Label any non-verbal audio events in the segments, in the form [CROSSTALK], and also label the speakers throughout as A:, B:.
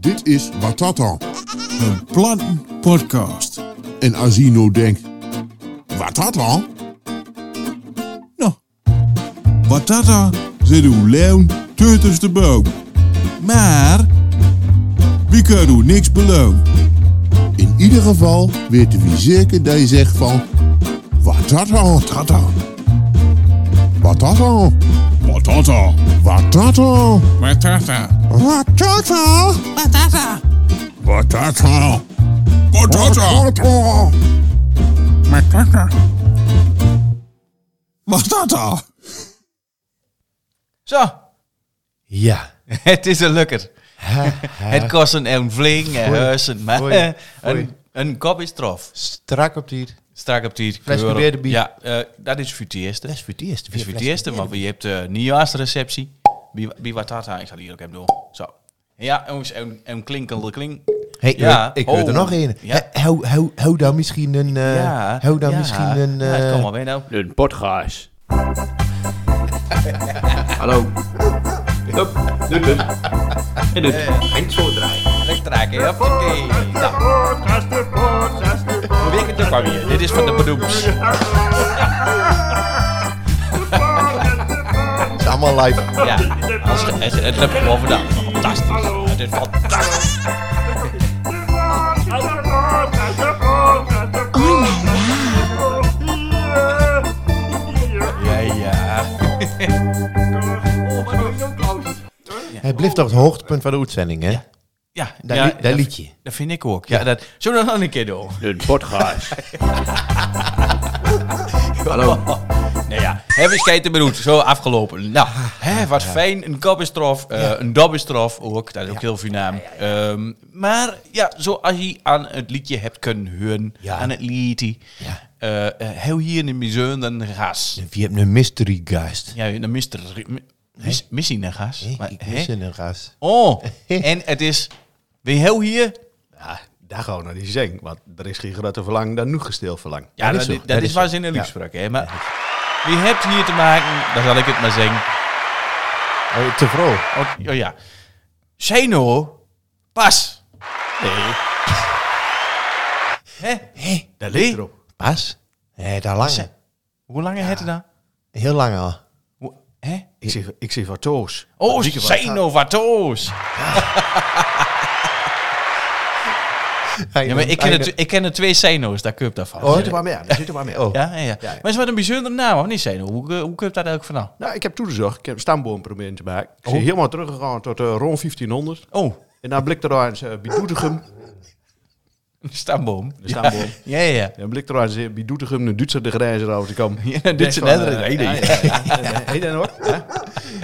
A: Dit is Watata.
B: Een plantenpodcast.
A: En Azino denkt, Watata?
B: Nou, Batata zit uw leeuw tussen de boom. Maar, wie kan u niks beloon?
A: In ieder geval weten we zeker dat je zegt van, Watata, tata. Watata,
B: Batata.
A: Watata,
B: Batata.
A: Watata,
B: Batata.
A: Watata,
B: Batata.
A: Watata.
B: Batata. Batata.
C: Zo, [LAUGHS]
D: Ja.
C: het is een lukker. [LAUGHS] Het kost een, een vling, een
D: Foei.
C: huizen, maar
D: Foei.
C: eh,
D: Foei.
C: een, een kop is trof.
D: Strak op die.
C: Strak op die
D: Fles
C: kleuren.
D: probeerde bier.
C: Ja, eh, dat is voor het eerste.
D: Dat is voor het eerst.
C: Dat is voor het eerste, want je hebt de nieuwjaarsreceptie. Bi- Bi wat dat aan? Ik ga die hier ook even door. Zo. Ja, jongens, een, een klinkende klink.
D: Hey,
C: Ja.
D: Ik weet er
C: Oh.
D: nog een.
C: Ja.
D: Hè, Hou, hou, hou dan misschien een... eh
C: ja.
D: Hou dan
C: ja.
D: misschien een...
C: Ja,
D: eh,
C: kom maar mee nou.
E: Een podcast. Hallo. Hup, hup, hup. En dus, eind zo draaien.
C: Lekker raken, hè? Oké. Nou. Probeer het ook maar weer. Dit is van de bedoemers.
D: Het is allemaal live.
C: Ja. Als, het, het, het heb ik wel gedaan. Fantastisch. Het is fantastisch. Ja, ja.
D: Het blijft toch het hoogtepunt van de uitzending, hè?
C: Ja,
D: Dat,
C: ja,
D: li- dat liedje.
C: Dat vind ik ook. Ja, dat, zullen we dat nog een keer
D: [LAUGHS]
C: doen?
E: Een podcast.
C: Hallo. nou ja, hebben schijten bedoeld. Zo afgelopen. Nou, hè, wat fijn. Een kop is trof, eh, een dab is trof ook. Dat is ook heel voornaam. Ehm, maar ja, zoals je aan het liedje hebt kunnen horen,
D: Ja.
C: aan het liedje,
D: Ja.
C: eh, eh, heel hier in de museum dan gas.
D: Wie hebt een mystery guest?
C: Ja, dan mist er... Mis, missie een gas.
D: Hé,
C: Maar,
D: ik
C: hè?
D: mis een gast.
F: [LAUGHS]
C: Oh, en het is... Weer heel hier...
F: Ja, daar gaan we naar die zeng. Want er is geen groter verlang dan nu gesteel verlang.
C: Ja, dat,
D: is
C: dat,
D: zo. Dat
C: is
D: is
C: waar
D: zo.
C: ze in de uitspraak, hè. Maar wie hebt hier te maken, dan zal ik het maar zeggen.
D: Oh, te vroeg.
C: Oh, oh ja. Zeno, pas.
F: [LAUGHS]
C: Nee. Hé? Hé?
F: Daar ligt erop.
D: Pas? Nee, daar lang.
F: Oh.
C: Ze- Hoe lang heeft het dan?
D: Heel lang al.
C: Hoe- Hè?
F: Ik zeg, ik zeg [LAUGHS] wat toos.
C: Oh,
F: Zieke wat.
C: Zeno Vatoos. Ja, maar ik ken, Oh, er, tw- ik ken er twee Zeno's, daar kun je daarvan.
F: Daar zitten we mee aan. Daar zitten we mee aan.
D: Oh.
C: Ja, ja, ja. Maar het is wat een bijzondere naam, of niet Zeno? Hoe, eh, hoe kun je dat ook vandaan?
F: Nou, ik heb toegezocht. Ik heb een stamboom proberen te maken. Ik ben helemaal teruggegaan tot eh, rond 1500.
C: Oh,
F: En dan blik er eens eh, bij Doetinchem.
C: [LAUGHS] een stamboom.
F: De stamboom.
C: Ja, ja, ja.
F: Dan blik er eens eh, bij Doetinchem. Een Duitser de grijze over de kam.
C: [LAUGHS]
F: [LAUGHS]
C: Ja, een Duitser
F: Denk
C: de
F: van, eh,
C: grijze.
F: ja, ja, ja. Eh, [LAUGHS] Heet dat nog? Ja?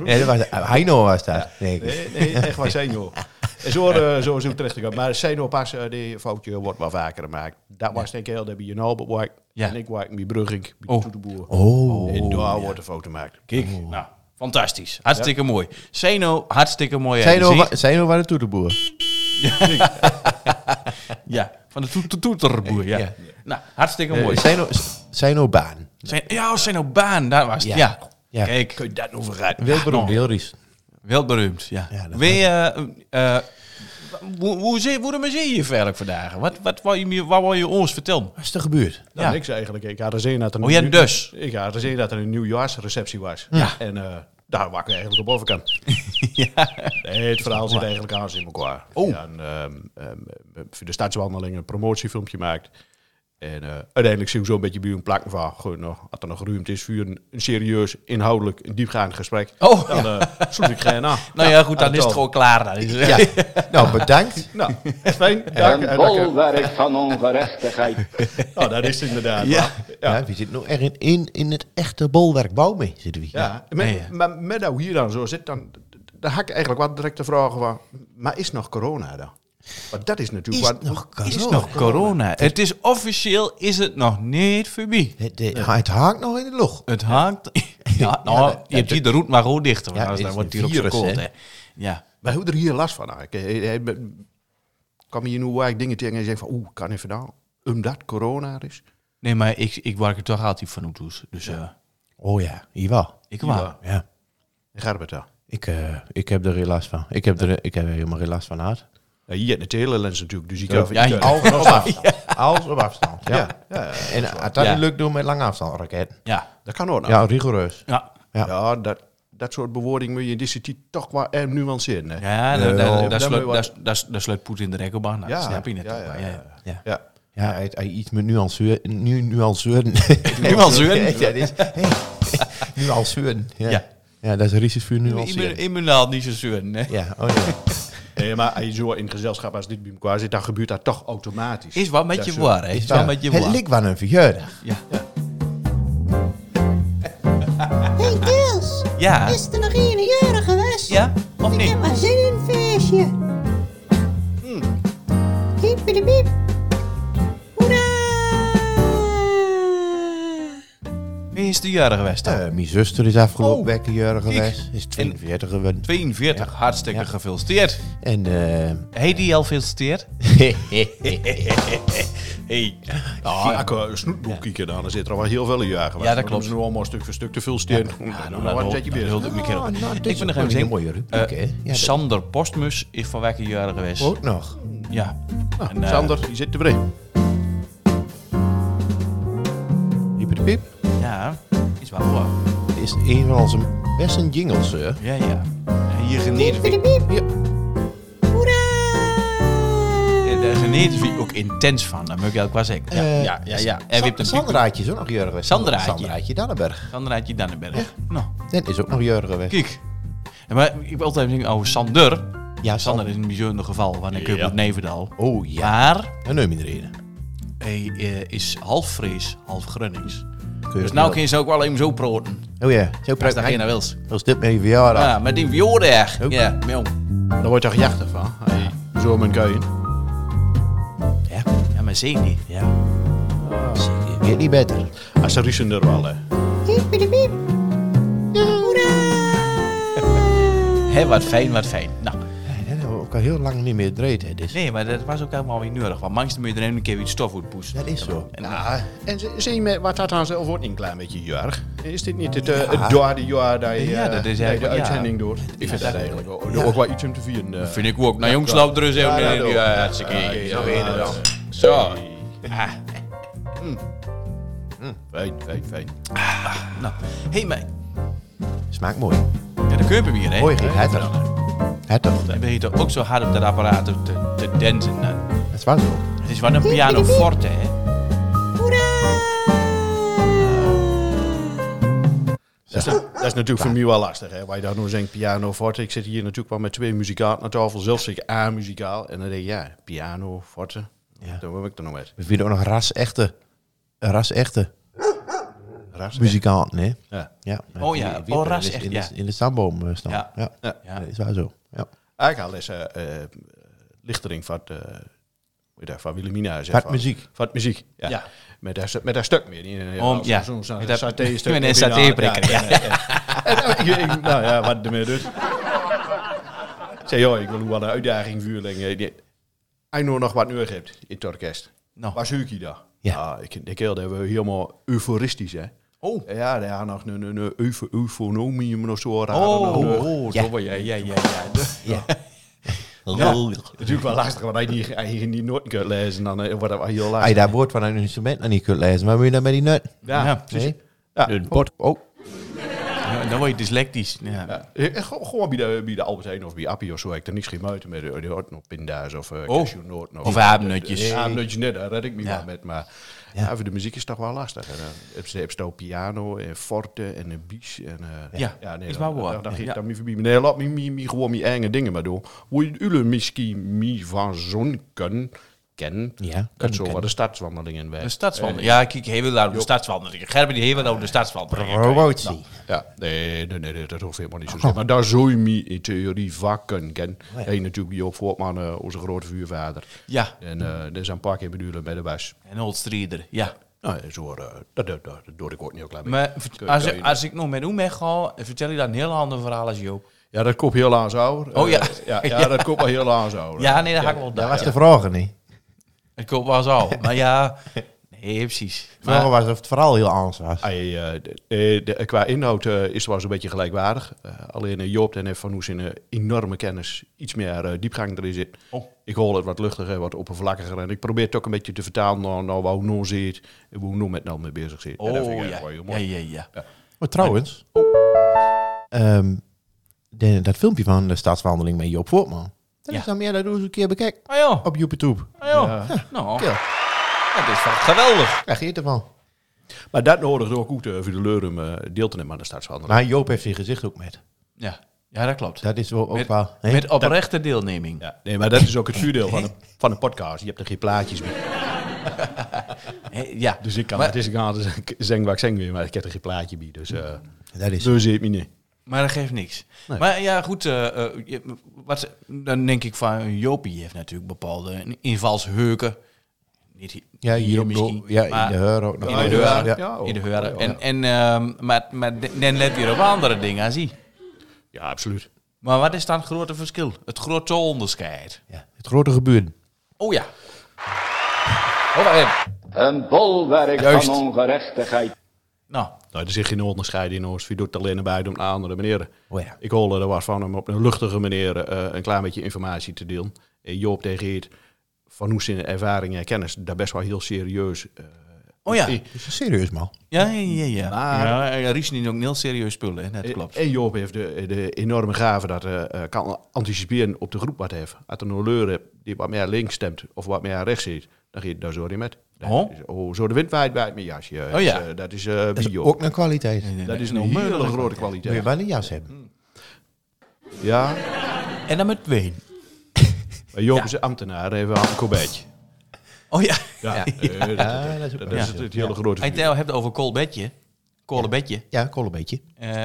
D: Nee, dat was, Heino was dat, denk ik.
F: Nee, nee, echt waar Zeno. En zo, eh, zo is het terecht gekomen. Maar Zeno pas, eh, die foutje wordt wel vaker gemaakt. Dat was denk ik heel, dat bij Jan Albert waar ik-
C: Ja.
F: En ik waar ik bij Brugging, bij
C: Oh.
F: Toeteboer.
D: Oh.
F: En daar wordt een foto gemaakt.
C: Kijk, nou, fantastisch. Hartstikke mooi. Zeno, hartstikke mooi. hè.
D: Zijn
C: Zie-
D: we zijn we waar de toeterboer?
C: Ja, van de toet- toet- toeterboer, ja.
D: Ja.
C: Nou, hartstikke mooi.
D: Zijn we- Zijn we baan?
C: Zijn, ja, oh, zijn op baan, daar was het. Ja.
D: Ja. Ja.
C: Kijk. Kun je dat nou vergeten?
D: Wil beroemd,
C: Wel,
D: heel ries.
C: beroemd, ja.
D: Ja, dat
C: Wie, eh, eh, hoe, hoe, zie- hoe, hoe zie je je verder vandaag? Wat, wat wou je, me- wat wou je ons vertellen?
D: Wat is er gebeurd?
F: Nou,
C: Ja.
F: niks eigenlijk. Ik had gezien dat er een,
C: Oh, jij
F: nieuw-
C: dus?
F: Ik had gezien dat er een nieuwjaarsreceptie was.
C: Ja.
F: En eh, daar waar ik eigenlijk op overkant.
C: [LAUGHS] ja.
F: Nee, het verhaal zit eigenlijk aan in elkaar.
C: Oh.
F: Ja, en, ehm, ehm, voor de stadswandeling een promotiefilmpje maakt. En eh, uiteindelijk zien we zo'n beetje bij een plak van, goh, nou, als er nog ruimte is voor een, een serieus, inhoudelijk, en diepgaand gesprek,
C: Oh.
F: dan eh zoek ik geen aan.
C: [LAUGHS] Nou ja, goed, dan is het
F: al.
C: gewoon klaar. Dan is het- [LAUGHS]
D: Ja. Nou, bedankt.
F: Nou, fijn. Dank,
G: Een
F: eh, dank, eh.
G: bolwerk van ongerechtigheid.
F: Nou, dat is het inderdaad.
C: Ja.
F: waar.
D: Ja. we zitten nog echt in, in, in het echte bolwerk bouw mee, zitten we hier.
F: Ja,
C: Nee, ja.
F: met, maar met nou hier dan zo zit, dan, dan hak ik eigenlijk wat direct te vragen van, maar is nog corona dan? Want dat is natuurlijk
D: Is
F: wat...
D: nog
C: Het is
D: corona?
C: nog corona. Het is officieel, is het nog niet voorbij.
D: Het, eh, het haakt nog in de lucht.
C: Het hangt... [LAUGHS] Ja, nou,
D: ja, dat-
C: je hebt hier de route maar gewoon dichter. want
D: Ja,
C: anders
D: het
C: dan
D: is
C: wordt
D: een
C: hier ook zo
D: virus,
C: koud,
D: hè.
C: hè. Ja.
F: Wij hebben er hier last van eigenlijk. Eh, eh, eh, Kwam hier nu waar ik dingen tegen en zeg van, oeh, kan even nou, omdat corona er is.
C: Nee, maar ik, ik werk er toch altijd van op dus... Dus eh,
D: Oh ja, hier wel.
C: ik wel.
D: Ja.
F: Dan gaat het wel.
D: Ik, eh, ik heb er heel last van. Ik heb er, ik heb er helemaal geen last van gehad.
F: Ja, hier heeft een telelens natuurlijk, dus ik
D: Ja,
F: kan
C: [LAUGHS] ja,
F: ik kan-
D: Alles op afstand. Alles op afstand. Ja.
F: Ja, ja,
D: En als dat
C: Ja.
D: niet lukt, doen we met lange afstand raket.
C: Ja.
F: dat kan ook nog.
D: Ja, rigoureus.
C: Ja.
F: Ja, dat, dat soort bewoording moet je in deze tijd toch wel erg nuanceren. hè.
C: Ja, daar- daar-
F: dan
C: daar sluit-
F: moet je wat-
C: daar- daar- daar sluit Poetin de rekkenbaan aan. Nou,
F: Ja,
C: Dat snap je net.
F: ja,
C: ook wel,
F: ja,
C: Ja,
F: ja.
C: ja. ja.
F: Ja.
D: Ja, hij, hij iets met nuanceur. Nu, [LAUGHS] nuanceuren.
C: Nuanceuren?
D: Ja, dit is, hey, [LAUGHS] nuanceuren. Ja.
C: Ja.
D: Ja. dat is een risico voor
C: Immu-
D: nuanceuren.
C: Immunaal niet zo zeuren, hè?
D: Ja, oh ja.
F: Nee, maar als je zo in gezelschap als dit bij elkaar zit, dan gebeurt dat toch automatisch.
C: Is wat met
F: Dat
C: je
F: zo-
C: waar, hè? Is
D: Ja,
C: wat met je
D: Het
C: waar.
D: lijkt wel een verjaardag.
H: Hey Deels,
C: Ja.
H: is er nog een jarig geweest?
C: Ja, of
H: Ik
C: niet?
H: heb maar zin in een feestje. Piep, piep, piep. Hoera!
C: Wie is de jaren geweest dan?
D: Eh, mijn zuster is afgelopen
C: Oh,
D: week een jarig
C: kijk.
D: geweest. Is 42 geworden.
C: 42, hartstikke gefeliciteerd.
D: En eh,
C: Heet die al [LAUGHS] gefeliciteerd? Hey.
F: Ja, ik een snoetboek kijken dan, dan zit er wel heel veel jagen.
C: Ja, dat klopt.
F: Nu allemaal een stuk voor stuk te veel steen. Ja,
C: Nou,
F: nou,
C: dat
F: wat
C: hoort-
F: zet je
C: dat
F: weer?
C: hield ik me keer op.
D: nou, dit
C: Ik
D: is
C: ben er
D: ook
C: geen
D: wel
C: zin.
D: een mooie rubriek, hè?
C: Eh,
D: Ja, dat-
C: Sander Postmus is van welke jaren geweest?
D: ook nog.
C: Ja.
D: Ah,
C: En, eh,
F: Sander, Nou. je zit te breed.
D: Piep, piep.
C: Ja, is wel waar.
D: Dit is een van onze best een jingles, hè?
C: Ja, ja. Ja, Hier geneert
H: Piep, piep, piep.
D: Ja.
H: Hoera!
C: Ja, Daar geneert wie ook intens van, dat moet ik ook wel zeggen. Ja, ja, ja. ja. En wie hebt een Sandra.
D: eh, Sandraatje is ook nog jarig geweest.
C: Sandraatje.
D: Sandraatje Dannenberg.
C: Sandra uit Dannenberg. Nou,
D: Den is ook nog jarig geweest.
C: kijk. Ja, maar ik wil altijd zeggen over Sander.
D: Ja,
C: Sander is een bijzonder geval, want ik heb het Nevendal.
D: Oh ja,
C: Maar
D: dan neem je er een.
C: hij eh, is half Fries, half Grunnings.
D: Kun je
C: Dus
D: het
C: nou
D: wel-
C: kun je ze ook wel even zo proten.
D: Oh ja, zo
C: Als
D: praat
C: dat
D: hij.
C: geen naar wils.
D: Als dit mijn verjaardag.
C: Ja, met die viooldag.
D: Ook.
C: Ja, jong.
F: Daar word je toch jachtig van? Hey, Zo mijn kuien.
C: Ja, ja maar zie niet. Ah. Ja.
D: Weet niet beter.
F: Als Ah, ze riezen er wel, hè.
H: Piep, piep, piep. Hoera!
C: Hé, wat fijn, wat fijn. Nou,
D: En we ook al heel lang niet meer dreed, hè? Dus.
C: nee, maar dat was ook helemaal weer nodig. Want mangs moet je er een keer weer stof uit poesten.
D: Dat is zo.
C: En,
F: Ah, En ze- zie je me, wat dat dan zelf wordt een klein beetje jarig? Is dit niet het, eh, het derde jaar dat je, eh,
C: Ja, dat is
F: je de
C: eigenlijk- ja.
F: uitzending doet? Ik vind dat eigenlijk ook, ook wel iets om te vieren. eh.
C: Vind ik ook. Nou jongens, loop er eens even
F: Ja,
C: in.
F: dat
C: Ja,
F: ook.
C: hartstikke.
F: Ja,
C: Zo,
F: ja,
C: inderdaad.
F: ja.
C: Zo. Ah.
F: Fijn, fijn, fijn.
C: Nou, hé, maar...
D: Smaakt mooi.
C: Ja, de keupen weer, hè?
D: Mooi, geen het toch? Het toch?
C: Dan ben je toch ook zo hard op dat apparaat te, te- te dansen. nou.
D: Het was zo.
C: Het is wel een pianoforte, hè?
F: Dat is, dat is natuurlijk voor mij wel lastig, hè. Waar je daar nou zingt piano forte. Ik zit hier natuurlijk wel met twee muzikanten aan tafel. Zelf zeg ik A-muzikaal. En dan denk je, ja, piano forte. Ja. Dat heb ik dan nog met.
D: We vinden ook nog ras-echte. Ras-echte. Muzikanten, hè?
F: Ja.
D: Ja.
C: Oh ja,
D: Die- die-
C: oh,
D: in
C: ras
D: de-
C: echt,
D: in de-
C: ja.
D: In de stamboom staan.
C: Ja.
D: Ja. Ja.
F: Ja.
D: Dat is wel zo. Ja.
F: Ik haal eens eh, eh, lichtering van, eh, hoe heet dat, van Wilhelmina. zeg,
D: Van muziek.
F: Van muziek, ja.
C: Ja.
F: Met, haar, met haar stuk meer. in eh,
C: Om- ja.
F: Zo'n
C: Met haar-
F: saté-stuk.
C: [LAUGHS] met een satéprikker, ja. [LAUGHS]
F: Nou ja, wat ermee doet. Ik zei, joh, ik wil wel een uitdaging vuurling. Hij nou nog wat nodig hebt in het orkest.
C: Nou.
F: Waar zoek je dat? Ah,
D: Ja.
F: ik, ik heel dat we helemaal euforistisch, hè.
C: Oh.
F: Ja, daar had nog een, een, een eufo- eufonomium of zo. raar.
C: Oh,
F: Nog, eh,
C: oh,
D: Ja.
C: zo word jij, ja, ja, ja. [LAUGHS]
F: Natuurlijk wel lastig, want hij niet, hij niet nooit kunt lezen, dan eh, wordt dat wel heel
D: Als je
F: lastig.
D: daar woord van een instrument nog niet kunt lezen, waar moet je dan met die nut?
F: Ja,
C: Ja.
F: precies.
D: Nee?
F: Ja.
D: Een pot. Oh,
C: Ja, Dan word je dyslectisch. Ja.
F: Ja. Eh, Gewoon gewoon bij de, bij de Albert Heijn of bij Appie of zo, ik er niks geen muiten met de hoort nog pinda's of uh,
C: Oh.
F: cashewnoten.
C: Of haarnutjes.
F: Ja, haarnutjes net, Eh, daar red ik me
C: Ja.
F: wel met. Maar ja. voor de muziek is het toch wel lastig. En, eh, heb je hebt ook piano en forte en een bies. En, eh,
C: Ja, is
F: dan-
C: waar waar.
F: Dan, dan,
C: Ja.
F: dan, dan, dan, nee, laat me, me, me gewoon mijn eigen dingen maar doen. Hoe je jullie misschien me van zo'n ken, ken,
D: Ja,
F: dat
D: ken,
F: zo
D: ken.
F: wat de stadswandelingen weg.
C: De stadswandeling. Ja, kijk, heel wel de stadswandeling. Gerben die heel wel de stadswandeling.
D: promotie.
C: nou.
F: Ja, nee, nee, nee, nee, dat hoeft helemaal niet zo te zijn. Maar daar zou je me in theorie vakken kennen. Hij natuurlijk Joop Voortman, eh, onze grote vuurvader.
C: Ja,
F: En eh er zijn een paar keer bedoelen bij de was.
C: en Old Streeder, ja.
F: Nou, eh, zo, eh, dat, dat, dat, dat doe ik ook niet heel klein beetje.
C: Maar vert- als, ik- als ik nog met hem ga, vertel je dan een heel ander verhaal als Joop.
F: Ja, dat koopt heel aan zo.
C: Oh, ja.
F: ja. Ja, dat koopt wel heel aan zo.
C: Ja, nee, dat ga ik wel
D: Dat
C: daar.
D: was de vraag, niet?
C: Ik koop wel zo. Maar Ah, ja, nee, Ja, precies.
D: Vroeger was het vooral heel anders was.
F: Hij, eh, de- de- de- qua inhoud eh, is het wel zo'n beetje gelijkwaardig. Eh, alleen eh, Joop en Van Hoes in een enorme kennis iets meer eh, diepgang erin zit. Ik hoor het wat luchtiger, wat oppervlakkiger. En ik probeer het ook een beetje te vertalen naar, naar wat Noor zit. En hoe Noor met nou mee bezig zit. En dat vind ik
C: Oh, ja.
F: eigenlijk wel heel
C: Ja,
F: mooi.
C: ja, ja. Ah, Oh.
D: Maar Oh, trouwens, ehm, de- dat filmpje van de stadswandeling met Joop Voortman. Dat
C: Ja.
D: is dan meer, dat doe eens een keer bekijk
C: Ah joh,
D: op YouTube.
C: ah joh. Nou,
D: Ja.
C: dat is wel geweldig.
D: Krijg je het ervan.
F: Maar dat nodig ook goed eh, voor de Leurum eh, deel te nemen aan de stadshandeling.
D: Maar Joop heeft zijn gezicht ook met.
C: Ja, ja dat klopt.
D: Dat is wel ook
C: Met-
D: wel... hè?
C: Met oprechte deelneming.
F: Ja, nee, maar dat is ook het vuurdeel van, de, van een podcast. Je hebt er geen plaatjes meer.
C: Hè, Ja.
F: Dus ik kan
C: Maar-
F: het is ik kan altijd zeggen wat ik zeg weer, maar ik heb er geen plaatje bij. Dus eh
D: Dat is...
F: zo zit me niet.
C: Maar dat geeft niks. Maar ja, goed. eh, eh, je- wat, dan denk ik van Jopie heeft natuurlijk bepaalde invalsheuken. Niet hi-
D: Ja, hier op
C: misschien,
D: de- ja,
C: maar
D: in de heur ook nog.
C: In de
D: wel.
C: heur,
D: Ja.
C: in de heur. En, en, ehm, maar, maar de- dan let weer op andere dingen aan zie.
F: Ja, absoluut.
C: Maar wat is dan het grote verschil? Het grote onderscheid.
D: Ja, Het grote gebeuren.
C: Oh ja. Oh, wacht even.
G: Een bolwerk
C: Juist.
G: van ongerechtigheid.
C: Nou,
F: Nou, er zit geen onderscheid in ons. Je doet het alleen bij om een andere manier.
D: Oh ja.
F: Ik hoorde er was van hem op een luchtige manier eh, een klein beetje informatie te delen. En Joop tegen Geert, van hoe zijn ervaring en kennis, daar best wel heel serieus. eh,
C: oh ja.
F: in-
D: Dat is serieus, man.
C: Ja, ja, ja. ja.
F: Maar-
C: ja ja, Riesen is ook een heel serieus spullen, hè? dat klopt.
F: En Joop heeft de, de enorme gave dat hij eh, kan anticiperen op de groep wat hij heeft. Als er een leur hebt die wat meer links stemt of wat meer rechts zit, dan gaat daar zo niet met. Dat
C: Oh.
F: is- oh, zo de wind waait bij mijn jasje. Dat is,
C: ja.
F: eh, dat is eh,
D: Dat is
F: bio.
D: ook een kwaliteit.
F: dat is een hele grote
D: Moet je
F: kwaliteit.
D: wel een jas hebben.
F: Ja.
C: En dan met ween.
F: Maar Joop is een ambtenaar, hij heeft wel een kobetje.
C: Oh [LAUGHS] ja.
F: Ja, eh, dat-
D: Ja, dat is ook
F: dat
D: wel
F: is
D: zo.
F: het, het hele grote
C: Hij
F: figuur.
C: het nou hebt over koolbedje. Kolenbedje.
D: Ja, kool een beetje.
C: Eh,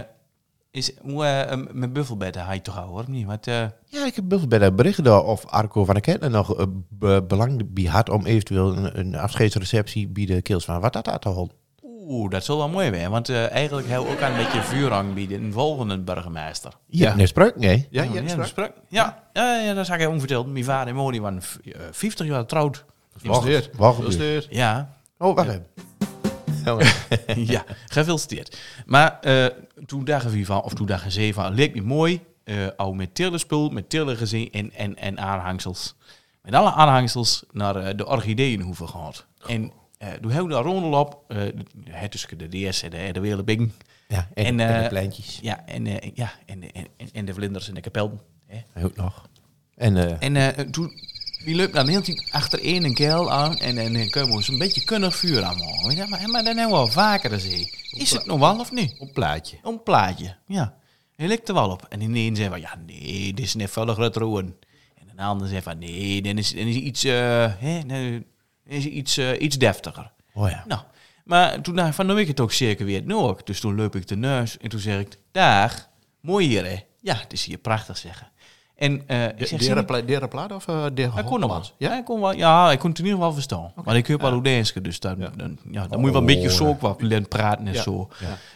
C: is hoe eh, een- mijn buffelbed hij toch houden, hoor. Of niet? Wat, eh,
D: Ja, ik heb best bij de berichten daar of Arco van der Ketten nog eh, be- belang bij had om eventueel een, een afscheidsreceptie bij de Keels van Wat dat aan te houden.
C: Oeh, dat zal wel mooi zijn. Want eh, eigenlijk hebben we ook aan een beetje vuurhang bieden. Een volgende burgemeester.
D: Ja, net spreuk, nee.
F: Ja, ja,
C: ja,
F: dat is
C: dat
F: waar.
C: sprak- ja, ja, ja, dat zag ik onverteld. Mijn vader en moeder waren v- eh, 50 jaar trouwd.
F: Gefeliciteerd.
D: Wacht, wacht.
F: Gefeliciteerd.
C: Ja,
D: Oh, wacht even.
C: [LAUGHS] ja, gefeliciteerd. Maar eh, toen dagen we van, of toen dagen ze van, leek me mooi. eh al met tillenspul, met tillengezin en, en, en aanhangsels. Met alle aanhangsels naar eh, de orchideeënhoeve gehad. En eh, toen hebben we daar rondel op. eh, het tussen de DS en de, en de Wereldbing.
D: Ja, en,
C: En,
D: en,
C: eh,
D: de pleintjes.
C: Ja, en, eh, ja, en, en, en- en de vlinders en de kapel. Hè.
D: Ook nog. En eh,
C: En eh, toen, die loopt dan heel team achter één een keil aan en en dan kunnen we eens een beetje kunnig vuur aan maken. Weet je, Maar, maar dan hebben we al vaker dan zee. Is het nog wel of niet?
F: Een plaatje.
C: Een plaatje, ja. Hij likt er wel op. En in de een zei van, ja nee, dit is net vullig het roeren. En de ander zei van, nee, dan is, dan is hij iets, eh, hè, dan is hij iets, eh, iets deftiger.
D: Oh ja.
C: Nou, maar toen dacht ik van, nou weet ik het ook zeker weer nu ook. Dus toen loop ik de neus en toen zeg ik, dag, mooi hier hè. Ja, het is hier prachtig zeggen. En eh ik zeg, zeg,
F: Dere pla- dere plaat of eh, dere
C: hij kon nog wat. Ja?
F: Ja?
C: Hij kon wel, ja, hij kon het in ieder geval verstaan. Maar ik heb wel Oedenske, dus dan, dan, ja, Oh. dan moet je wel een beetje zo ook wat leren praten en zo.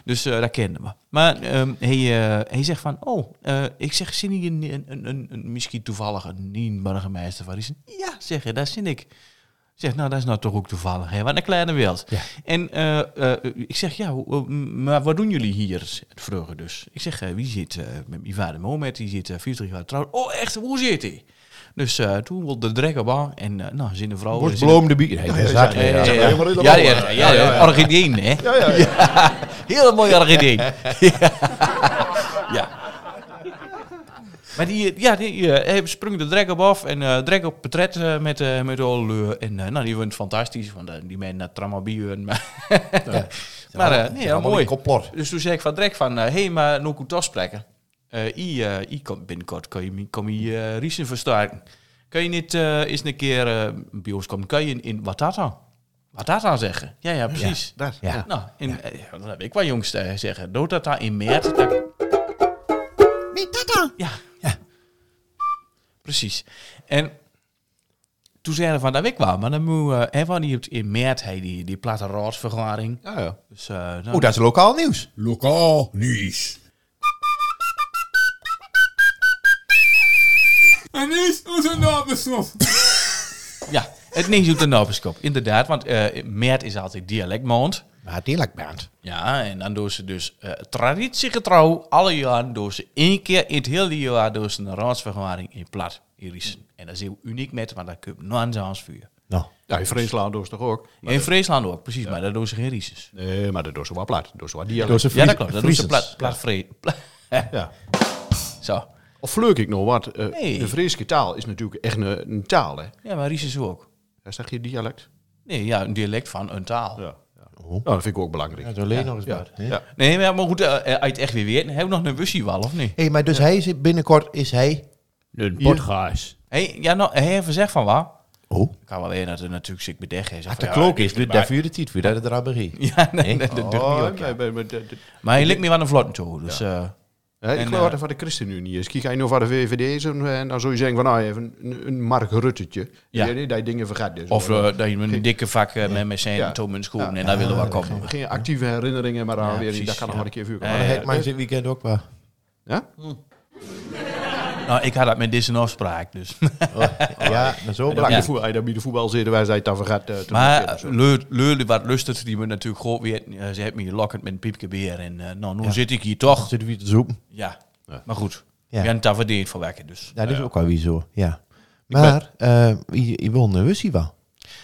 C: Dus eh dat kenden we. Maar ehm, hij, eh, hij zegt van, oh, eh, ik zeg, zin hier een, een, een, een, een misschien toevallig een nieuw-burgemeester van Riesen? Ja, zeg je, daar zin ik. Zeg, nou, dat is nou toch ook toevallig, hè? Wat een kleine wereld. En eh, eh, ik zeg, ja, hoe- hoe- maar wat doen jullie hier? Het vroegen dus. Ik zeg, eh, wie zit eh, met mijn vader Mohamed? Die zit eh, 40 jaar trouw. Oh, echt? Hoe zit hij? Dus eh, toen wilde de drekker bang en eh, nou, zijn de vrouw...
D: wordt
C: zijn de-
D: bloem de bier. Nee, dat is hard,
C: Eh,
D: hè, ja.
C: eh, Ja, ja, ja, ja, ja, ja, orchideen, hè? Ja, ja, Hele mooie orchideen. ja. Maar die, eh, ja, die eh, hij sprong de drek op af en eh drek op portret eh, met, eh met de oude leur. En eh, nou, die vond het fantastisch, want eh, die men naar Tramabieren. Maar, [LAUGHS] maar eh, nee, ja,
D: allemaal
C: mooi.
D: een complot.
C: Dus toen zei ik van drek van, hé, hey, maar nog goed afspreken. Eh I, eh, I komt binnenkort, kan je, me- kan je eh, Riesen versterken. Kan je niet eh, eens een keer eh, een bioscoop, kan je in, in Watata? Watata zeggen? Ja, ja, precies.
F: Dat.
D: Ja.
C: Nou, in, eh, ja, dat heb ik wel jongst eh, zeggen. Doet dat daar in maart? dat-
H: Big Tata.
C: ja. Precies. En toen zeiden we van, dat weet ik wel. Maar dan moet, eh, hè, want die heeft in maart hij die, die platte raadsvergadering.
F: Ja, ja.
C: Dus, eh, nou,
D: Oh, dat is lokaal nieuws.
A: Lokaal nieuws.
B: En nu is onze naam besloten.
C: Ja, Het neemt op de Nobiskop, inderdaad. Want eh Mert is altijd dialectmaand.
D: Maar dierlijk bent.
C: Ja, en dan doen ze dus eh, traditiegetrouw alle jaren doen ze één keer in het hele jaar doen ze een raadsvergadering in plat in Riesen. En dat is heel uniek met, want daar kun je nooit aan vuur.
D: Nou,
F: Ja, in Friesland doen ze toch ook?
C: In Friesland ook, precies, maar daar doen ze geen Rieses.
F: Nee, maar dat doen ze wel plat. Dat doen ze wel dialect.
D: door ze
C: Ja, dat klopt. Dat doen ze
D: Friesens.
C: plat, plat Fri- pla- [LAUGHS]
F: Ja.
C: Zo.
F: Of vleuk ik nog wat? eh,
C: Nee.
F: De Friese taal is natuurlijk echt een, een taal, hè?
C: Ja, maar Rieses ook.
F: Daar zeg je dialect.
C: Nee, ja, een dialect van een taal.
F: Ja.
C: Oh.
F: Nou, dat vind ik ook belangrijk.
D: Ja, zo leen nog eens wat. hè?
F: Ja.
C: Nee, maar maar goed, eh, eh, uit echt weer weer. Hebben we nog een wussiewal of niet?
D: Hé, maar dus hij is binnenkort is hij.
I: Een podcast.
C: Hey, ja, nou, hij heeft gezegd van waar?
D: Oh,
C: Ik kan wel in dat er natuurlijk ziek bedeg is. Of-
D: de klok is. dit- Daar vuurde het niet voor, dat is de rabberie.
C: [LAUGHS] Ja, nee, dat, dat doet
F: Oh,
C: niet
F: Ah, nee,
C: op.
F: nee, nee, nee, nee.
C: Maar hij ligt me wel een vlot toe, dus... eh,
F: Hè,
C: En,
F: ik geloof
C: eh,
F: dat van de ChristenUnie is. Kijk, hij nou van de VVD is en, en dan zou je zeggen van nou, even een, een Mark Ruttetje.
C: Ja.
F: Ja. Die, die, dingen vergat. Dus.
C: Of eh, dat je met een dikke vak eh, met mijn zijn
F: Ja.
C: toe mijn schoenen en daar willen we wel komen.
F: Geen actieve herinneringen, maar dan weer,
C: precies,
F: dat kan nog
C: ja. Eh,
F: wel een keer vuur
C: Ja,
F: komen. Eh,
D: Maar
C: ja,
D: het maakt dit weekend ook wel.
F: Ja?
C: Nou, ik had dat met deze afspraak,
F: [LAUGHS]
C: dus.
D: Ja, maar zo
F: Bij
D: belangrijk.
F: de voet- Hij dat bij de voetbal zitten, wij zijn daar vergat. eh, te markeren,
C: maar
F: zo.
C: Leu- Leulen wat lustert, die me natuurlijk goed weer. eh, Ze heeft me hier lokkend met een piepke beer en eh, nou, nu zit ik hier toch.
D: Zitten we te zoeken?
C: Ja, maar goed.
D: Ja.
C: Ja. En daar verdedigd voor werken, dus.
D: Ja, dat is ook wel weer zo. Ja. Maar, eh, je je wil een wussie wel.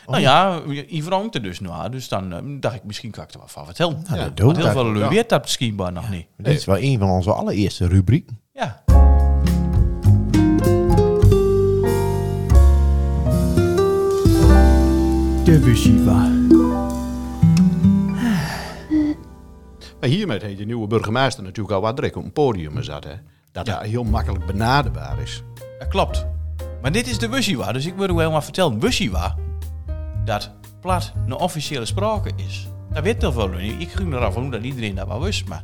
C: Nou ja, Yves rankte dus nou, dus dan eh, dacht ik, misschien kan ik er wat van vertellen.
D: dat
C: Want
D: doe ik.
C: heel veel Leu weet dat misschien maar nog niet.
D: Dit is wel een van onze allereerste rubrieken.
C: Ja.
I: De Bushiva.
F: Maar hiermee heeft de nieuwe burgemeester natuurlijk al wat druk op een podium gezet. Hè? Dat hij heel makkelijk benaderbaar is.
C: Dat klopt. Maar dit is de Wushiwa, dus ik wil u helemaal vertellen. Wushiwa, dat plat een officiële sprake is. Dat weet heel veel niet. Ik ging eraf hoe dat iedereen dat wel wist. Maar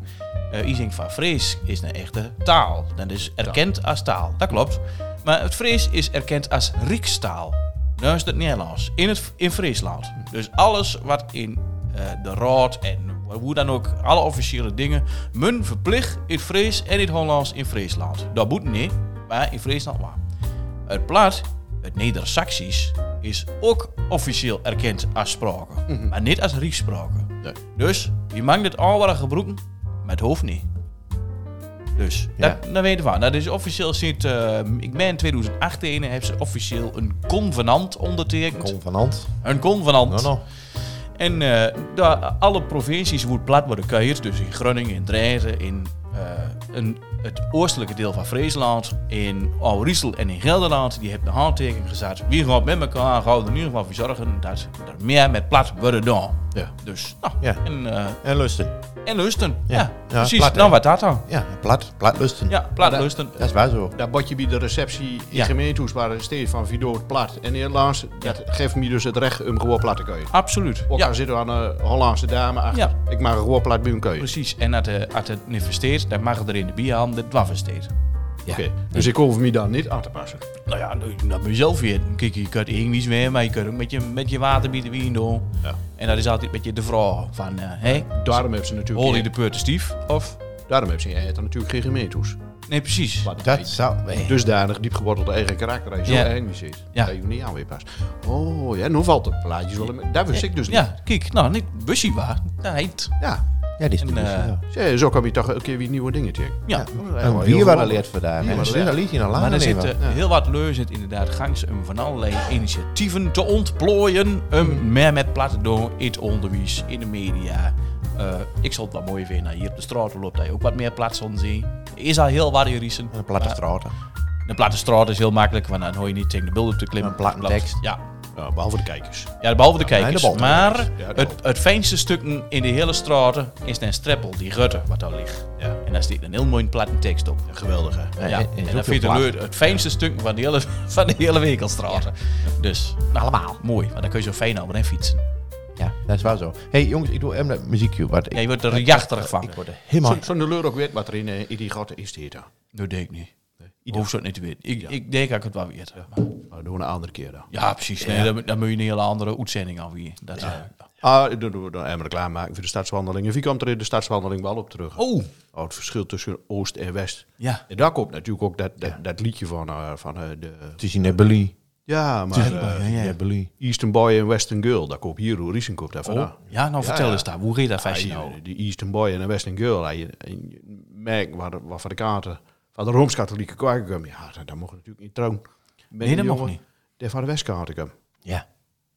C: eh Ising van Vrees is een echte taal. Dat is erkend als taal. Dat klopt. Maar het Vrees is erkend als Rijkstaal. Nu is het Nederlands. In, het, in Friesland. Dus alles wat in eh, de Raad en hoe dan ook, alle officiële dingen. Men verplicht in het Fries en in het Hollands in Friesland. Dat moet niet, maar in Friesland wel. Het plat, het Neder-Saxisch, is ook officieel erkend als sprake, maar niet als rieksprake. Dus je mag dit al wel gebruiken, maar het hoeft niet. Dus, dat, dat weten we. wel. Dat is officieel sinds, eh, ik ben in 2018, hebben ze officieel een convenant ondertekend.
D: Kom van hand.
C: Een convenant.
D: Nou, nou.
C: En eh, daar- alle provincies wordt plat worden kuierd. Dus in Groningen, in Drenthe, in eh, een, het oostelijke deel van Friesland, in Oud-Riesel en in Gelderland. Die hebben de handtekening gezet. Wie gaat met elkaar houden in ieder geval voor zorgen dat er meer met plat worden dan.
D: Ja.
C: Dus, nou,
D: Ja.
C: en, eh,
D: En lusten.
C: en lusten. Ja,
D: Ja. Ja,
C: precies.
D: plat, hè?
C: nou, wat dat dan?
D: Ja, plat. Plat lusten.
C: Ja, plat lusten.
D: Dat is waar zo.
F: Dat botje bij de receptie in
C: Ja.
F: gemeentehuis waar het steeds van Vidoort plat en Nederlands. Dat geeft me dus het recht om gewoon plat te keuien.
C: Absoluut.
F: Ook
C: Ja,
F: al zit er aan een eh, Hollandse dame achter.
C: Ja.
F: Ik mag gewoon plat bij hem keuien.
C: precies. En als het, als het niet versteert, dan mag het er in de bierhand de dwaffen steeds.
F: Oké, Dus ik hoef me daar niet aan te passen.
C: Nou ja, dat- dat moet je zelf weer. Kijk, je kunt ingwies weer, maar je kunt ook met je, met je water bieden wien doen. En dat is altijd met je de vraag van, eh hé,
F: Daarom hebben ze natuurlijk,
C: hol je de putte stief? Of?
F: daarom hebben ze in Eijten natuurlijk geen gemeentehuis.
C: Nee, precies.
F: Plat.
D: Dat zou... nee.
F: Dusdanig diep geworteld eigen karakter. Als je
C: Ja.
F: zo eng zit.
C: Ja.
F: Dat je niet aan weer past. Oh ja, nu valt het plaatjes wel. in- Dat wist ik dus niet.
C: Ja, kijk, nou, niet bussie waar. Dat heet.
F: ja.
D: Ja, dit is de
C: En,
D: wussie
C: eh,
D: wel.
F: Ja, zo kan je toch elke keer weer nieuwe dingen Oh, tegen.
C: Ja.
D: En
F: heel
D: wie waren
F: goed.
D: leert vandaag?
F: Wie
D: En
F: waren
D: Susanne
F: leert?
D: liet je nou langer
C: Maar eh, er
D: nemen.
C: zitten heel wat leuzen zit inderdaad gangs om van allerlei initiatieven te ontplooien. Um, meer met platen doen in het onderwijs, in de media. Eh, ik zal het wel mooi vinden. Hier op de straat loopt dat je ook wat meer plaats zal zien. Er is al heel wat in Riesen.
D: Een platte straten.
C: De platte straat is heel makkelijk, want dan hoor je niet tegen de beelden te klimmen.
D: Een platte
C: Klopt.
D: tekst.
C: Ja.
F: Ja, behalve de kijkers.
C: ja, behalve de
D: en de
C: kijkers.
D: bal.
C: maar
F: Ja, de
C: het,
F: bal.
C: het fijnste stukken in de hele straten is een streppel, die rutte, wat daar ligt.
F: Ja.
C: En daar staat een heel mooi platte tekst op.
F: Geweldig hè.
C: Ja,
D: en-
C: en
D: en is
C: dat
D: ook
C: vindt de
D: heel
C: leur het fijnste stuk van de hele, [LAUGHS] van de hele winkelstraten. Dus, nou, allemaal. Mooi, want dan kun je zo fijn over en fietsen.
D: Ja, dat is waar zo. hey, jongens, ik doe even dat muziekje. Wat
C: Ja,
D: ik
C: je wordt er jachterig van.
D: helemaal...
F: Zonder leur ook weet wat er in, eh, in die gaten is dit. dan.
C: Dat denk ik niet. Ik hoef zo niet te weten. Ik, ik denk dat ik het wel weet. Maar-
F: Maar doen we een andere keer dan.
C: Ja, precies. Nee, dan, dan moet je een hele andere uitzending aan wie. Dat, eh,
F: Ah, dan doen we dan even reclame maken voor de stadswandeling. En wie komt er in de stadswandeling wel op terug?
C: Oh,
F: Oh, het verschil tussen Oost en West.
C: ja.
F: En daar komt natuurlijk ook dat, dat, dat liedje van, eh, van eh, de...
D: Het is in Nebeli.
F: Ja, maar eh,
C: ja, ja.
D: Belie.
F: Eastern Boy en Western Girl, daar koop hier hoe Riesen koopt daar
C: Oh,
F: vandaan.
C: ja, nou vertel
F: ja. Ah,
C: eens daar. Hoe reed dat
F: Ja,
C: feestje
F: je-
C: nou?
F: Die Eastern Boy en de Western Girl, ja, je, en je merkt waar, de- waar van de kaarten, van de Rooms-Katholieke kwaken, ja, dat, dat mocht natuurlijk niet trouwen. Met
C: Nee,
F: die
C: dat mocht
F: jongen,
C: niet.
F: Die van de Westkaarten,
C: Ja.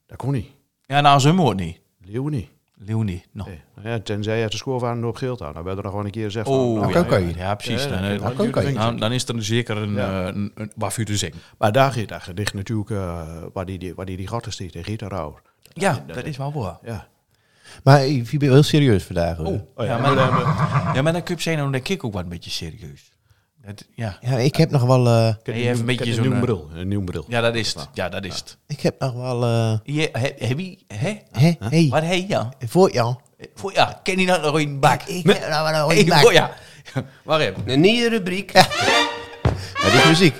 F: dat kon niet.
C: Ja, nou, ze hoort niet.
F: Leeuwen niet.
C: Leonie. Nou.
F: Nee. Nou Ja, tenzij je uit de school waren op geld aan. Dan werd er nog wel een keer gezegd.
C: Oh,
F: van, nou,
C: ja,
D: kan
C: ja,
D: je.
C: ja, precies.
F: Ja,
C: Dan,
F: dat
C: eh,
F: kan je.
C: dan-
F: Dat kan je.
C: dan- dan is er zeker een,
F: Ja.
C: eh, een, een waarvoor te zingen.
F: Maar daar gaat daar gedicht natuurlijk, eh, waar, die, die, waar die die gaten steekt, die giet daarover.
C: Ja, dat is wel waar.
F: Ja.
D: Maar ik ik ben heel serieus vandaag. hoor.
F: Oh,
C: Ja, maar, ja, maar dan kun je zijn, dan denk ik ook wat een beetje serieus. Dat, ja.
D: Ja, ik heb nog wel, eh,
F: Ik heb
C: je hebt een
F: nieuw-
C: beetje
F: ik heb
C: zo'n,
F: Een nieuwe
C: eh,
F: bril. Een nieuwe bril.
C: ja, dat is het. Ja, dat is het.
D: ik heb nog wel, eh,
C: Je, he, heb je, hè?
D: hè? Hey,
C: Wat hey ja?
D: voor jou.
C: Voor ja, ken je nou nog een bak?
D: Ik heb nog wel een
C: Hey,
D: rode bak.
C: voor ja. [LAUGHS] Waar heb
E: Een nieuwe rubriek.
D: Ja, dit is muziek.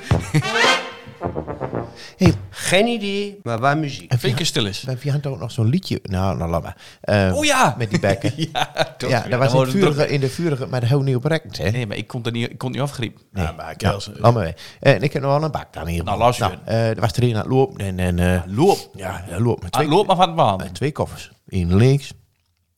D: hey,
E: Geen idee, maar waar muziek.
C: Vind je stil is?
D: Bij Vian ook nog zo'n liedje. Nou, nou laat maar. Eh,
C: Oh ja!
D: Met die bekken.
C: [LAUGHS] Ja, dat
D: ja, daar was in
C: wordt
D: de
C: het druk.
D: vurige, in de vurige, maar daar heel niet op rekken, hè?
C: Nee, maar ik kon, er niet, ik kon niet afgriepen.
F: Ja, maar Kels, eh,
D: Laat maar weg. En ik heb nog wel een bak dan hier.
C: Nou, luister.
D: eh, er was er een aan het lopen en... en eh,
C: Loop.
D: ja, hij loopt met
C: Ah,
D: twee,
C: loop maar van het
D: eh,
C: baan.
D: twee koffers. Eén links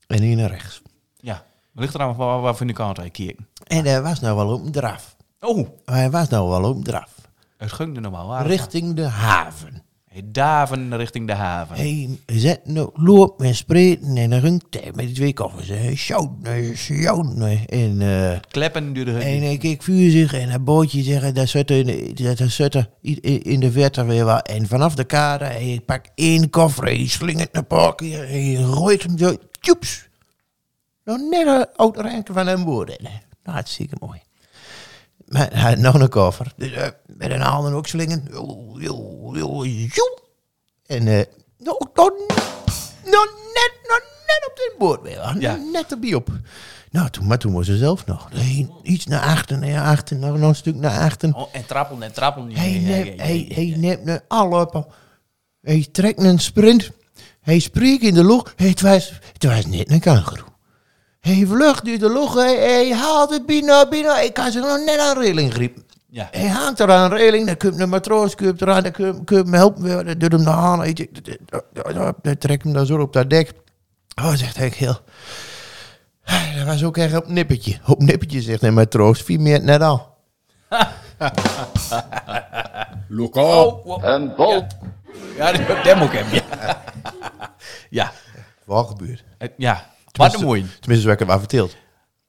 D: en één rechts.
C: Ja. Ligt er aan waar, waar van de kant hij kijkt.
D: En er was nou wel op een draf.
C: Oh,
D: Hij was nou wel op een draf.
C: het ging er normaal aan.
D: Richting de haven.
C: Hey, Daven richting de haven.
D: Hij zet nou loop en spreken en dan ging hij met die twee koffers. Hij sjouwt, hij sjouwt. En... eh,
C: Kleppen duurde het
D: En
C: niet.
D: ik keek vuur zich en een bootje zeggen, daar zit in, de- daar zit er i- i- in de verte weer wat. En vanaf de kade, hij pakt één koffer, hij slingert naar parken, hij rooit hem zo, tjoeps. Nou, net een oud ranken van een boer. Nou, hartstikke mooi. Maar hij had nog een koffer, dus, eh, met een handen ook slingen. Joe, joe, joe, joe. En eh, nou, nou, nou, net, nou, net op zijn boord weer. hoor.
C: Ja.
D: Net erbij op. Nou, toen, maar toen was ze zelf nog. Nee, iets naar achter, naar achter, nog nog een stuk naar achter.
C: Oh, en trappel, en trappel. Ja,
D: Hij
C: ja, ja,
D: neemt,
C: ja,
D: hij,
C: ja.
D: hij neemt een allop. Hij trekt een sprint. Hij spreekt in de lucht. Hey, Het was, het was net een kangeroe. Hij vlucht uit de lucht. Hij, hij haalt het binnen, binnen. Ik kan ze nog net aan de reling griepen.
C: Ja.
D: Hij hangt er aan de reling. Dan komt een matroos komt eraan. Dan komt komt hem helpen. weer, Dan doet hem naar aan. Hij trekt hem dan zo op dat dek. Oh, zegt hij heel. Dat was ook echt op nippertje. Op nippertje, zegt een matroos. Vier meer net al.
A: Look
C: Oh, wow.
G: Een bal.
C: ja, dat dat moet ik hebben. Ja. [LAUGHS] ja.
D: Wel gebeurd.
C: Het- ja. Wat een
D: Tenminste-
C: mooi.
D: Tenminste, werd ik hem aan verteld.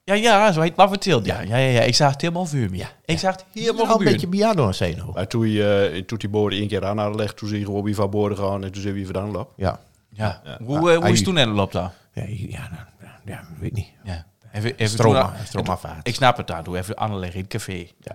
C: Ja, ja, zo heet maar verteld. Ja, ja, ja, ja. Ik zag het helemaal vuur. Ja. Ik zag het helemaal
D: Nog een
C: gebeuren.
D: beetje piano aan zijn hoor.
F: Maar toen, je, eh, toen die boorden één keer aan hadden gelegd, toen zie je gewoon wie van boorden gaan en toen zijn we weer vandaan lopen.
D: Ja.
C: Ja. Hoe, eh, hoe is toen en loopt daar?
D: Ja, ja, nou, ja, ja, weet niet.
C: Ja. Even, even
D: Stroma,
C: toen-
D: stromaafwaarts.
C: Ik snap het daar. Doe even aanleggen in het café. Ja.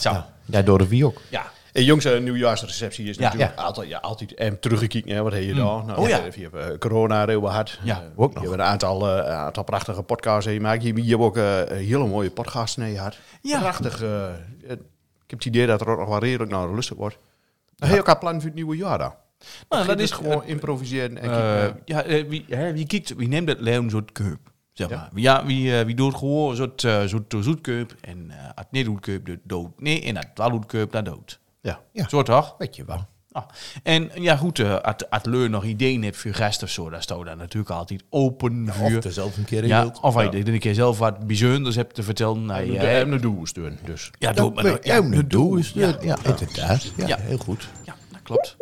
C: Zo. Ja.
D: Ja, door de Viok.
F: En Eh, jongens, een nieuwjaarsreceptie is
C: Ja.
F: natuurlijk altijd, ja, altijd en teruggekeken. Hè, wat heb je daar? Nou,
C: Oh ja.
F: Je hebt eh, corona heel hard.
C: Ja,
F: Eh,
D: ook
F: Je
D: nog.
F: hebt een aantal, eh, een aantal prachtige podcasts gemaakt. Je, je hebt ook eh, een hele mooie podcast in je had.
C: Ja.
F: Prachtig. eh, eh, ik heb het idee dat er ook nog wel redelijk naar rustig wordt. Dan heb je ook een plan voor het nieuwe jaar dan. dus
C: Nou, dat is
F: gewoon improviseren.
C: Eh,
F: En kijken, eh,
C: ja, eh, wie, hè, wie kijkt, wie neemt het leeuw zo'n keup? Zeg maar. Ja, wie, eh, wie doet gewoon zo'n eh, zo'n zo'n keup. En eh als het niet doet keup, dan dood. Nee, en als het wel doet keup, dan dood.
F: ja.
D: Ja.
C: Zo toch?
D: Weet je wel.
C: Ah. En ja, goed, eh, als als Leur nog ideeën hebt voor gasten of zo, dan staat daar natuurlijk altijd open vuur.
D: Of er zelf een keer in
C: ja,
D: wilt.
C: of hij de een keer zelf wat bijzonders hebt te vertellen. Nou,
F: En de-
C: ja,
F: en de doel is doen, dus.
C: ja, doe het maar.
D: Ja,
C: dan. Ja,
D: dat doe is ja, ja, inderdaad. Ja,
C: Ja.
D: heel goed.
C: ja, dat klopt.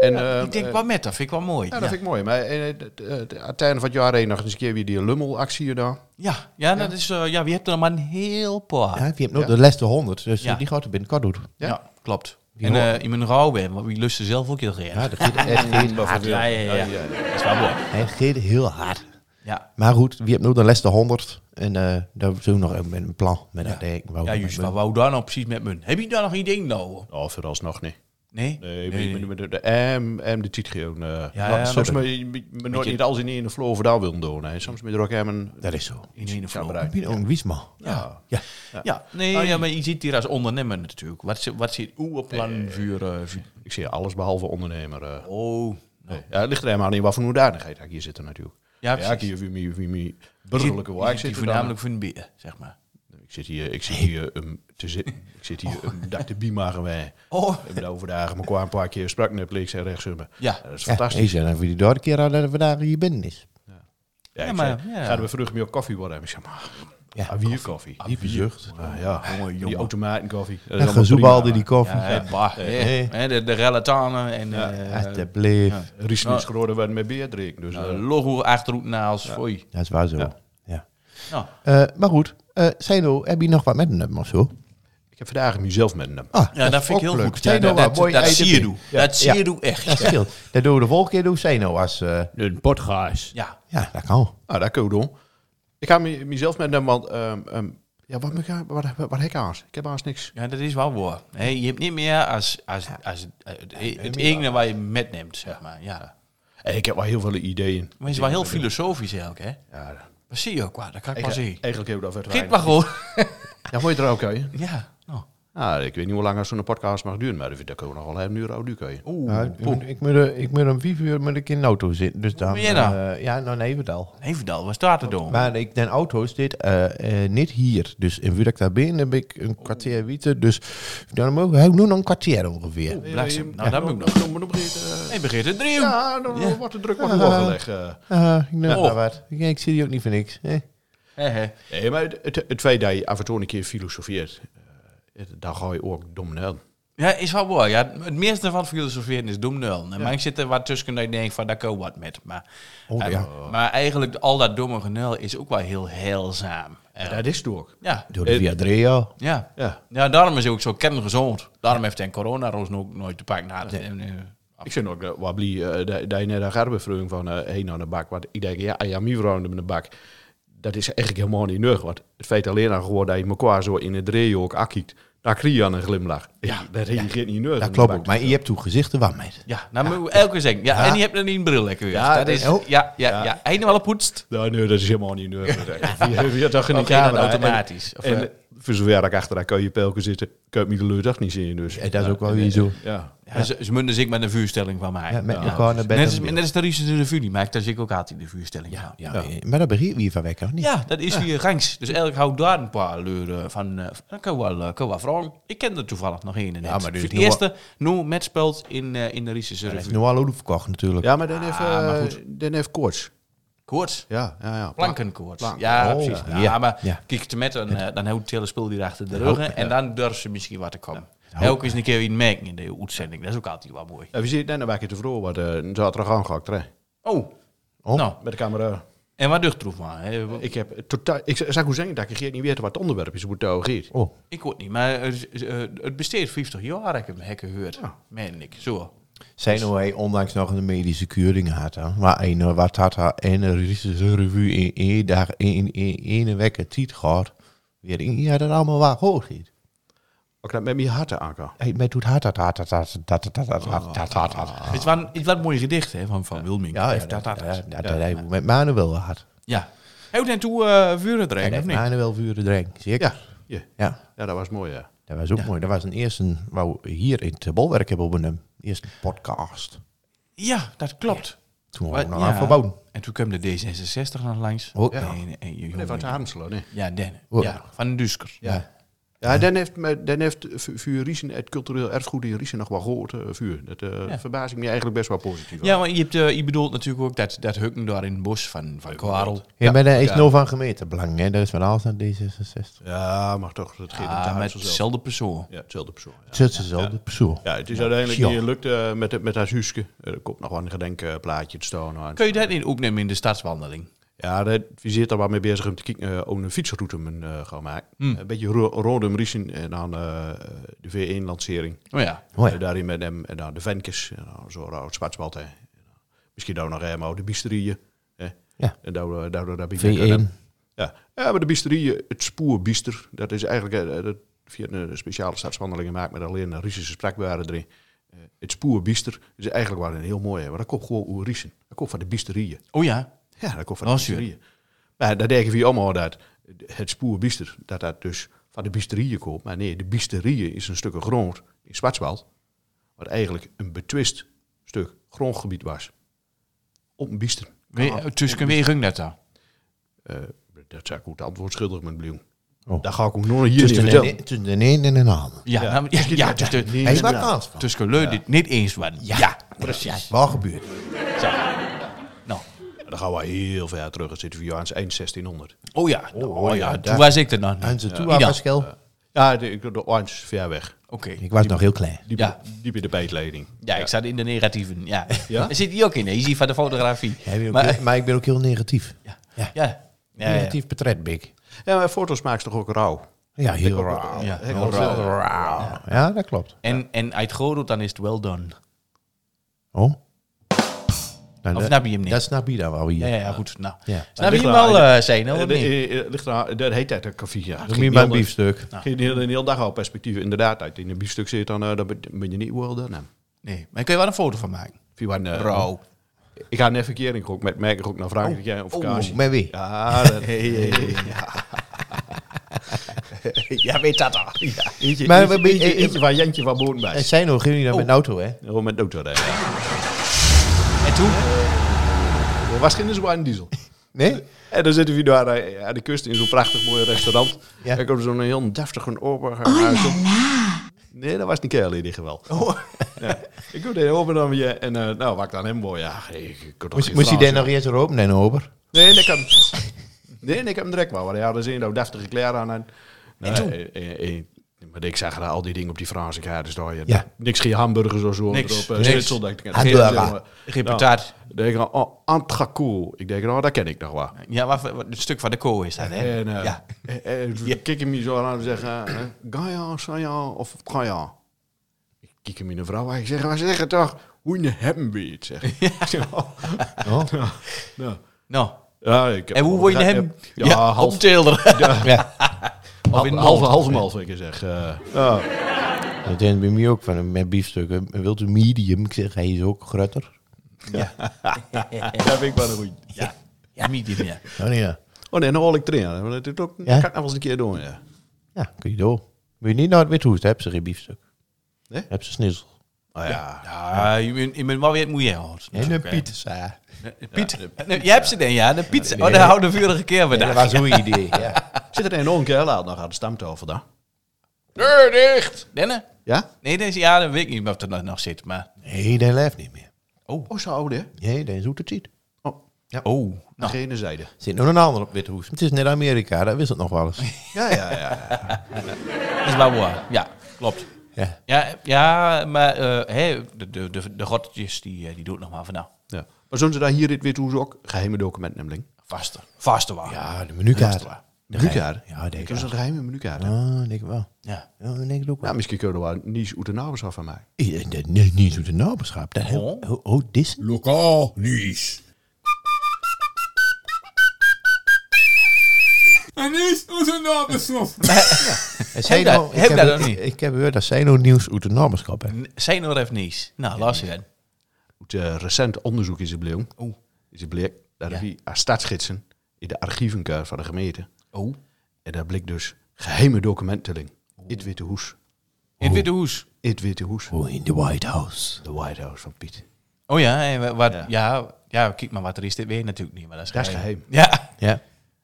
F: En, eh,
C: ik denk
F: eh,
C: wel met, dat vind ik wel mooi.
F: Ja,
C: Ja,
F: dat vind ik mooi. Maar eh, het- het- het- aan het einde van het jaar heen nog eens een keer weer die lummelactie hier dan.
C: ja, ja, dat is, eh, ja, wie hebt er nog maar een heel paar.
D: Ja, je hebt nog de laatste honderd, dus
C: Ja.
D: die gaat er binnenkort doen.
C: Ja, klopt.
D: Die
C: en
D: horen.
C: eh iemand rauw ben, want wie lust er zelf ook heel graag.
D: Ja, dat gaat
C: [LAUGHS]
D: echt, heel hard.
C: ja, ja, ja, ja. Dat is wel mooi.
D: Hij gaat heel hard.
C: Ja,
D: Maar goed, wie hebt nog de laatste honderd? En eh daar zullen we nog even met een plan met dat dek.
C: ja juist. Wat wou daar nou precies met me? Heb je daar nog ideeën nou?
F: Oh, vooralsnog niet.
C: Nee?
F: Nee, nee, nee. De, de, en, en de titel gewoon. eh, nou,
C: ja,
F: soms
C: dat-
F: moet je moet je nooit niet alles in één flow vandaan willen doen. Hè. Soms moet je er ook hem een...
D: Dat is zo.
C: In één
F: Ja,
C: geval.
F: bereid.
D: Pino en Wiesma.
C: Ja.
D: Ja.
C: Ja, nee, ja, maar je zit hier als ondernemer natuurlijk. Wat, zit- wat zit uw plan voor... eh, voor-
F: Ik zie alles behalve ondernemer. eh.
C: oh,
F: Nee. Ja, het ligt er helemaal niet wat voor hoedanigheid ik hier zitten natuurlijk.
C: Ja,
F: Ja, ik
C: precies.
F: hier wie wie wie
C: Je
F: burgerlijke waar ik
C: zit
F: zit.
C: voornamelijk voor een bier, zeg maar.
F: Nou, Ik zit hier, ik zit hier um, te zitten. Ik zit hier um, dak te biemagen wij.
C: Oh.
F: Ik ben overdag maar kwam een paar keer sprak net links en rechts. um,
C: Ja.
F: Dat is
D: Ja, ik
F: fantastisch.
D: zeg dan voor die derde keer al dat we vandaag hier binnen is.
F: Ja,
C: Ja,
F: ik
C: maar-
F: zei,
C: ja.
F: Gaan we vroeger meer koffie worden? Ik zeg maar,
D: Ja,
F: ah, wie koffie?
D: Diepe zucht.
F: Ah, ja, die Eh, automatenkoffie. Dat is
D: En
F: allemaal
D: gezoebalde die
F: prima,
D: koffie.
C: Ja, hè, bah, hè,
D: Hey.
C: Eh, hè, de, de relatanen en eh,
D: Ja, dat bleef.
F: maar Riesling schroorden we met bier drinken. Dus, eh,
C: eh, logo achterhoednaals. Foei.
D: Dat is waar zo. Ja.
C: Nou.
D: Eh, maar goed, eh Seino, heb je nog wat met hem of zo?
F: ik heb vandaag mezelf met hem.
D: Ah,
C: Ja, dat
D: is
C: vind ik
D: ook
C: heel
D: leuk.
C: goed. Ja,
D: Seino,
C: dat-
D: nou wat
C: dat-
D: mooi
C: dat
D: ei
C: zie je
D: erbij.
C: doe. Dat zie je doe echt.
D: Dat scheelt. Dat doen we de volgende keer, doen Seino als... eh,
I: Een podcast.
C: Ja.
D: ja, dat kan.
F: Ah, dat kunnen we doen. Ik ga me- mezelf met hem, want... ehm, ehm, ja, wat, wat, wat, wat, wat heb ik haast? Ik heb haast niks.
C: Ja, dat is wel waar. Hè, je hebt niet meer als, als, als, eh, het, het ene waar je metneemt, zeg maar. Ja.
F: En Eh, ik heb wel heel veel ideeën.
C: Maar het is wel heel filosofisch eigenlijk, hè?
F: Ja, dat-
C: Dat zie je ook wel, dat kan ik wel zien.
F: eigenlijk eigenlijk hebben we dat verder
C: Geet maar
F: weinig.
C: gewoon.
F: Ja, hoor je er ook aan je?
C: [LAUGHS] Ja, nou.
F: Nou, ik weet niet hoe lang zo'n podcast mag duren, maar dat dat kunnen we nog wel een uur oudu kan je.
C: Oeh,
D: Ja, Nou, ik, moet, ik, moet, er- ik moet om vijf uur moet ik in de auto zitten. Dus dan,
C: Wat ben je nou?
D: eh, ja, nou nee, wat al.
C: Evendal, waar staat het om?
D: Maar ik, de auto zit eh, eh, niet hier. Dus in Vuurdak daar binnen heb ik een kwartier wieten. Dus dan mogen we nu nog een kwartier ongeveer.
C: Bliksem. Nou, dat moet ik nog. Hij begint het drieën.
F: Ja, dan wordt de druk wat voorgelegd. eh.
D: Ah, ik neem
C: Oh.
D: daar wat. Ik, ik zie die ook niet voor niks. hè.
C: Hè, hè.
F: Nee, maar het, het, het feit dat je af en toe een keer filosofeert, eh, dan ga je ook dom naar.
C: Ja, is wel mooi. Ja, het meeste van filosoferen is dom nul. Maar ik zit er wat tussen dat ik denk van, daar kan ik wat met. Maar, eh, maar eigenlijk al dat domme genul is ook wel heel heilzaam. Eh,
F: Dat is het ook.
C: ja,
D: Door de
F: Eh,
D: Via Drea.
C: ja.
F: Ja.
C: Ja, daarom is hij ook zo kerngezond. Daarom heeft hij een coronaroos ook nooit te pakken. gehad. En, eh,
F: Ik vind ook dat wat blij, eh, dat dat je net aan Garbe vroeg van eh heen naar de bak. Want ik denk, ja, ja, mijn vrouw naar de bak. Dat is eigenlijk helemaal niet nodig. Want het feit alleen al gewoon dat je elkaar zo in het driehoek ook akkiet, daar krijg je aan een glimlach. Ja, dat reageert niet nodig.
D: Dat klopt ook. Maar je hebt toen gezichten waar mee.
C: ja, nou moet elke keer zeggen. Ja, En je hebt er niet een bril lekker weer. Ja, dat is, ja,
D: oh.
C: ja, ja, Einde wel poetst.
F: Ja, nee, dat is helemaal
D: [LAUGHS]
F: niet nodig. Je- Je hebt daar geen
C: Oké,
F: camera.
C: dan automatisch. Of,
F: En
C: eh,
F: voor zover ik achter dat kan je pelken zitten, kan je me de leurdag niet zien. Dus.
D: dat is ook wel weer zo.
F: Ja.
C: Ja, ze, ze munden zich met een vuurstelling van mij.
D: Ja, met elkaar naar bed.
C: Net als,
D: en weer.
C: net als de Russen de revue die maakt, daar zie ik ook altijd de vuurstelling van. Ja,
D: Ja, eh, Maar dat begint wie van weg, of niet?
C: Ja, dat is hier gangs. Dus eigenlijk hou daar een paar leuren van. eh, Dat kan wel, eh, kan wel vragen. Ik ken er toevallig nog één. Ja,
D: maar
C: maar
D: dus
C: het
D: nu
C: eerste, nu met speelt in, eh, in de Russische
D: Dat is
C: revue.
D: nu al overkocht natuurlijk.
F: ja, maar dan heeft, eh,
C: maar goed.
F: dan heeft koorts.
C: Koorts.
F: Ja, ja, ja.
C: Plankenkoorts. Ja,
D: Oh,
C: precies.
D: ja.
C: Ja, maar
D: Ja.
C: kijk te met, een, eh, dan houdt het hele spul die achter de rug. En dan durven ze misschien wat te komen. En ook eens een keer in merken in de uitzending. Dat is ook altijd wel mooi.
F: Ja, we zitten net een weekje te vroeg, wat eh, een zaterdag aangehakt, hè?
C: Oh. Nou,
F: Met de camera.
C: en wat ducht troef maar. hè?
F: Ik heb totaal. Ik zag hoe zeggen dat ik geen niet weet wat het onderwerp is, hoe het daar gaat.
D: Oh,
C: Ik hoor het niet, maar het, is- eh, het besteedt 50 jaar, heb ik hem hekken gehoord. Meen ik, zo.
D: zijn hoe hij onlangs nog een medische keuring had. hè. Maar een eh, wat had hij en een Russische revue in één dag, in in- in één week het tijd gehad. Weer in, ja, dat allemaal waar hoog zit.
F: Ook dat met mijn harten aankan.
D: Hij met doet hard, hard, hard, hard, hard, hard, hard, hard, hard, hard, hard, hard.
C: Het was een, het was een mooi gedicht hè, van, van Wilming.
D: Ja, ja,
C: Heeft
D: dat,
C: dat,
D: dat,
C: dat,
D: dat, dat hij met Manuel had.
C: Ja. Hij doet naartoe eh vuren
D: En
C: drinken,
D: met
C: of niet?
D: Manuel vuurde drank,
F: Ja,
D: zeker?
F: ja.
D: Ja.
F: ja, dat was mooi, ja.
D: Dat was ook mooi. Dat was een eerste, wou hier in het bolwerk hebben opgenomen. Eerste podcast.
C: Ja, dat klopt.
D: Toen
C: Wat-
D: waren we nog
C: ja.
D: aan verbouwen.
C: En toen kwam de D66 nog langs.
D: Oh,
C: ja.
D: ja.
C: En, en, je
F: Nee, van
C: jongen-
F: de Hamselen, nee.
C: ja, Den.
D: Oh.
C: Ja, van de Dusker.
F: Ja. Ja, dan heeft, me- dan heeft vu- vuur Riesen het cultureel erfgoed in Riesen nog wel gehoord, eh, vuur. Dat eh
C: Ja.
F: verbaas ik me eigenlijk best wel positief.
C: Ja, maar je, hebt, eh, je bedoelt natuurlijk ook dat, dat hukken daar in het bos van, van Karel.
D: Ja, maar daar is nou van gemeten belang, hè. Daar is van alles naar D66.
F: Ja, maar toch, het geeft
C: Ah,
F: het
C: met dezelfde persoon.
F: Ja, hetzelfde persoon. Ja,
D: Het is dezelfde persoon.
F: ja het is uiteindelijk
D: Ja.
F: niet gelukt eh, met, het- met haar zuske. Er komt nog wel een gedenkplaatje te staan. nou, aan.
C: Kun je dat niet opnemen in de stadswandeling?
F: Ja, daar- wie zit daar wel mee bezig om te kijken eh, om een fietsroute men, eh, gaan maken. Een beetje ro rondom Riesen en dan eh, de V1-lancering.
C: Oh ja.
D: Oh ja.
F: Eh, daarin met hem en dan de Venkes. En dan zo rood Zwartswald. hè. En dan Misschien ook nog helemaal de Bisterieën. hè.
D: Ja.
F: En daardoor, daardoor, daar ben ik lekker aan
D: V1.
F: hem. Ja. ja, maar de Bisterieën, het spoor Biester, dat is eigenlijk eh, dat via een speciale stadswandeling gemaakt met alleen een Riesische spraakbaren erin. Eh, het spoor Biester is eigenlijk wel een heel mooi, hè, maar dat komt gewoon uit Riesen. Dat komt van de Bisterieën.
C: Oh ja.
F: Ja, dat komt van
C: Oh,
F: de
C: zuur.
F: bisterieën. Maar dat denken we allemaal dat het spoor biester, dat dat dus van de bisterieën komt. Maar nee, de bisterieën is een stuk grond in Zwartswald, wat eigenlijk een betwist stuk grondgebied was. Op een biester.
C: Ah. eh, We, tussen wegen dat dan.
F: Eh, dat zou ik goed antwoord schuldig met bloem.
C: Oh.
F: Daar ga ik ook nog hier niet
D: Tussen de,
F: vertellen.
D: ne- tussen de een en een ander.
C: Ja, ja, ja, ja tussen
F: Nee,
D: Hij
F: nee,
D: maakt
F: nee.
D: kans van.
C: tussen leu dit niet eens worden. Ja, precies.
D: Wel gebeurd.
C: Zo. Nou,
F: Dan gaan we heel ver terug. Dan zitten we hier aan het eind 1600.
C: oh ja, nou, oh, ja,
D: daar-
C: toen was ik er nog niet.
D: En ze toe
C: Ida.
D: Pascal.
F: Ja, de, de orange is ver weg.
C: Oké,
D: Ik was nog heel klein.
F: Diep,
C: Ja.
F: diep in de bijtleding.
C: ja, ik zat in de negatieven. Ja. [LAUGHS]
F: Ja?
C: Daar zit hij ook in, hè? je ziet van de fotografie.
D: Jij bent ook
C: maar,
D: heel- maar ik ben ook heel negatief.
C: ja, ja.
D: Ja.
C: ja. ja, ja.
D: negatief portret, Bik.
F: Ja, maar foto's maken ze toch ook rauw?
D: Ja, heel raar.
C: Ja.
D: Heel raar. Ja, dat klopt.
C: En, en uit Goro, dan is het well done.
D: Oh. Nou,
C: Of
D: dat-
C: snap je hem niet?
D: Dat snap je dan wel
C: Ja,
D: hier.
C: ja, ja, goed. Nou.
D: Ja.
C: Snap je
F: Ligt
C: hem
F: eraan,
C: wel,
F: ja.
C: eh Zeno,
F: Eh,
C: of
F: de-
C: niet?
F: eh, eh, ligt eraan, dat heet uit een koffie. Ja,
D: Noem je mijn biefstuk.
C: Nou.
F: Geen de hele, de hele dag al perspectief inderdaad uit. In een biefstuk zit dan, eh, dan ben- ben je niet world done. hè.
C: Nee, maar daar kun je wel een foto van maken.
F: Of je waren, eh,
C: Bro.
F: Ik ga net verkering ook met merk ook naar Frankrijk jij op vakantie.
D: Oh, met wie?
F: ja, dat, [LAUGHS] ja, weet dat al. Ja. Eentje,
D: Maar
F: eentje,
D: we- we-
F: eentje-
D: eh,
F: eentje van Jantje van Bodenbijs.
D: En zijn nog ging je dan met een auto, hè?
F: Oh, met auto rijden.
C: En toen?
F: Er was geen zware diesel.
D: Nee?
F: En dan zitten we daar eh, aan de kust in zo'n prachtig mooi restaurant.
D: Ja.
F: En komt zo'n heel deftige oorburger uit. Nee, dat was niet kerel in ieder geval.
D: Oh.
F: Ja. Ik kom de open dan weer en eh, nou, wat ik dan hem mooi. Ja, ik, ik kon toch
D: Moest,
F: geen
D: moest hij
F: Frans,
D: daar nog eerst open en over?
F: Nee, nee, ik heb hem. Nee, nee, ik heb hem direct wel. Want ja, dan zie je nou deftige kleren aan. En, nou, eh, eh, eh, maar ik zag daar al die dingen op die Franse kaart. Dus daar, je
D: Ja.
F: niks geen hamburgers of zo.
C: Niks,
F: Erop, eh,
C: niks.
F: schnitzel, denk ik.
C: eh,
D: Hamburger.
C: Geen patat.
F: Ik denk, ik, oh, antracool. Ik denk, nou, dat ken ik nog wel.
C: Ja, wat, wat, het stuk van de kool is dat, hè?
F: En eh
C: ja.
F: eh, eh, ik kijk hem hier zo aan en zeg, eh, eh, Gaia, Saya of Gaia. Ik kijk hem in de vrouw en ik zeg, wat zeg het toch? Hoe in de hem weet, het, zeg.
D: Oh.
F: Nou,
C: Nou,
F: ja, ik heb-
C: en hoe word je hem?
F: Ja, [LAUGHS] ja half,
C: Op Tilder.
D: [LAUGHS] Ja.
C: Of in
F: half,
C: Malta.
F: half hem al, vind ik zeg. eh ja.
D: Dat deed bij mij ook van met biefstukken. Wilt u medium? Ik zeg, hij is ook grutter.
F: Dat vind ik wel een goeie.
C: Ja, medium, ja.
D: Oh nee, ja.
F: Oh nee, dan hol ik trainen. Want Dat is ook,
D: Ja?
F: kan ik nog wel eens een keer doen, ja.
D: Ja, kun je door. Weet je niet naar het withoest, heb ze geen biefstuk.
F: Nee?
D: Heb ze snitsel.
F: Oh, ja.
C: Ja, je bent- je bent wel weer het moeie hoort.
D: En een pizza.
C: Piet. Nee, je hebt ze dan, ja. De Piet. Oh, daar houden we vorige keer weer.
D: Dat was zo'n idee, ja.
F: Zit er een nog een keer laat, dan gaat de stamtafel daar.
C: Deur dicht. Denne?
F: Ja?
C: Nee, deze, ja, dan weet ik niet of dat nog zit, maar...
D: [LAUGHS] Nee, dat leeft niet meer.
F: Oh, zo oud, hè?
D: Nee, dat is hoe het ziet.
C: Oh. Nou,
F: Gene zijde.
D: Er zit nog een ander op withoest. Het is net Amerika, dat wist het nog wel eens.
F: Ja, ja, ja.
C: dat is wel waar. Ja, klopt.
D: Ja.
C: Ja, ja maar eh hè, de, de, de, de rottetjes, die, eh, die doet nog maar van nou.
F: ja. Maar zullen ze daar hier dit wit hoes ook? Geheime document, namelijk.
C: Vaste. Vaste waar. Ja.
D: Ja, Ah, de menukaart.
F: De menukaart?
D: Ja, denk
F: Ik
D: ik
F: heb
D: wel.
F: zo'n geheime menukaart. hè?
D: Ah, denk ik wel.
C: Ja.
D: Ja, dat denk ik ook wel.
F: Nou, misschien kunnen we er wel niets uit de nauwers af van mij.
D: Ja, dat is eh, niet zo de naberschap. Dat heel,
C: Oh.
D: oh, oh, dit is-
A: Lokaal nieuws.
B: En nu is onze nabeschot.
D: En zij
C: dat-
D: nou- ik
C: heb
D: heb
C: dat
D: gehoord-
C: ook niet.
D: Ik heb gehoord dat zij nou nieuws uit de naberschap hebben.
C: Zijn er even niets. Nou, las je dan.
F: Uit eh, recent onderzoek is het bleek,
C: Oh.
F: is het bleek dat
C: Ja.
F: er via stadsgidsen in de archievenkaart van de gemeente.
C: Oh.
F: En daar bleek dus geheime documenteling. In het Witte Hoes.
C: In het Witte Hoes.
F: In het Witte Hoes.
D: Oh, in de White House.
F: De White House van Piet.
C: Oh ja, en wat, ja. ja, kijk maar wat er is. Dit weet je natuurlijk niet, maar dat is
F: Dat is
C: geheim.
F: geheim.
C: Ja.
D: Ja.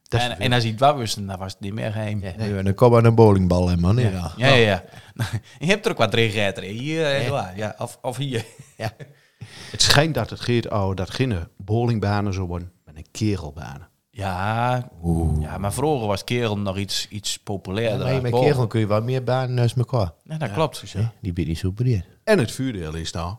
C: En, en als hij het wel wist, dan was het niet meer geheim. Ja,
D: Nee. En dan kwam aan een bowlingbal, hè, man. Ja. Ja.
C: ja, ja. [LAUGHS] je hebt er ook wat regeter in. Hier, eh, waar, ja. Of, of hier.
F: Het schijnt dat het geert oude dat geen bowlingbanen zo worden, maar een kerelbanen.
C: [LAUGHS] Ja, ja, maar vroeger was kerel nog iets, iets populairder.
D: maar
C: dan
D: met
C: bowling.
D: kerel kun je wel meer banen naast elkaar.
C: Ja, dat klopt.
D: Die ben je niet zo breed.
F: En het vuurdeel is nou, als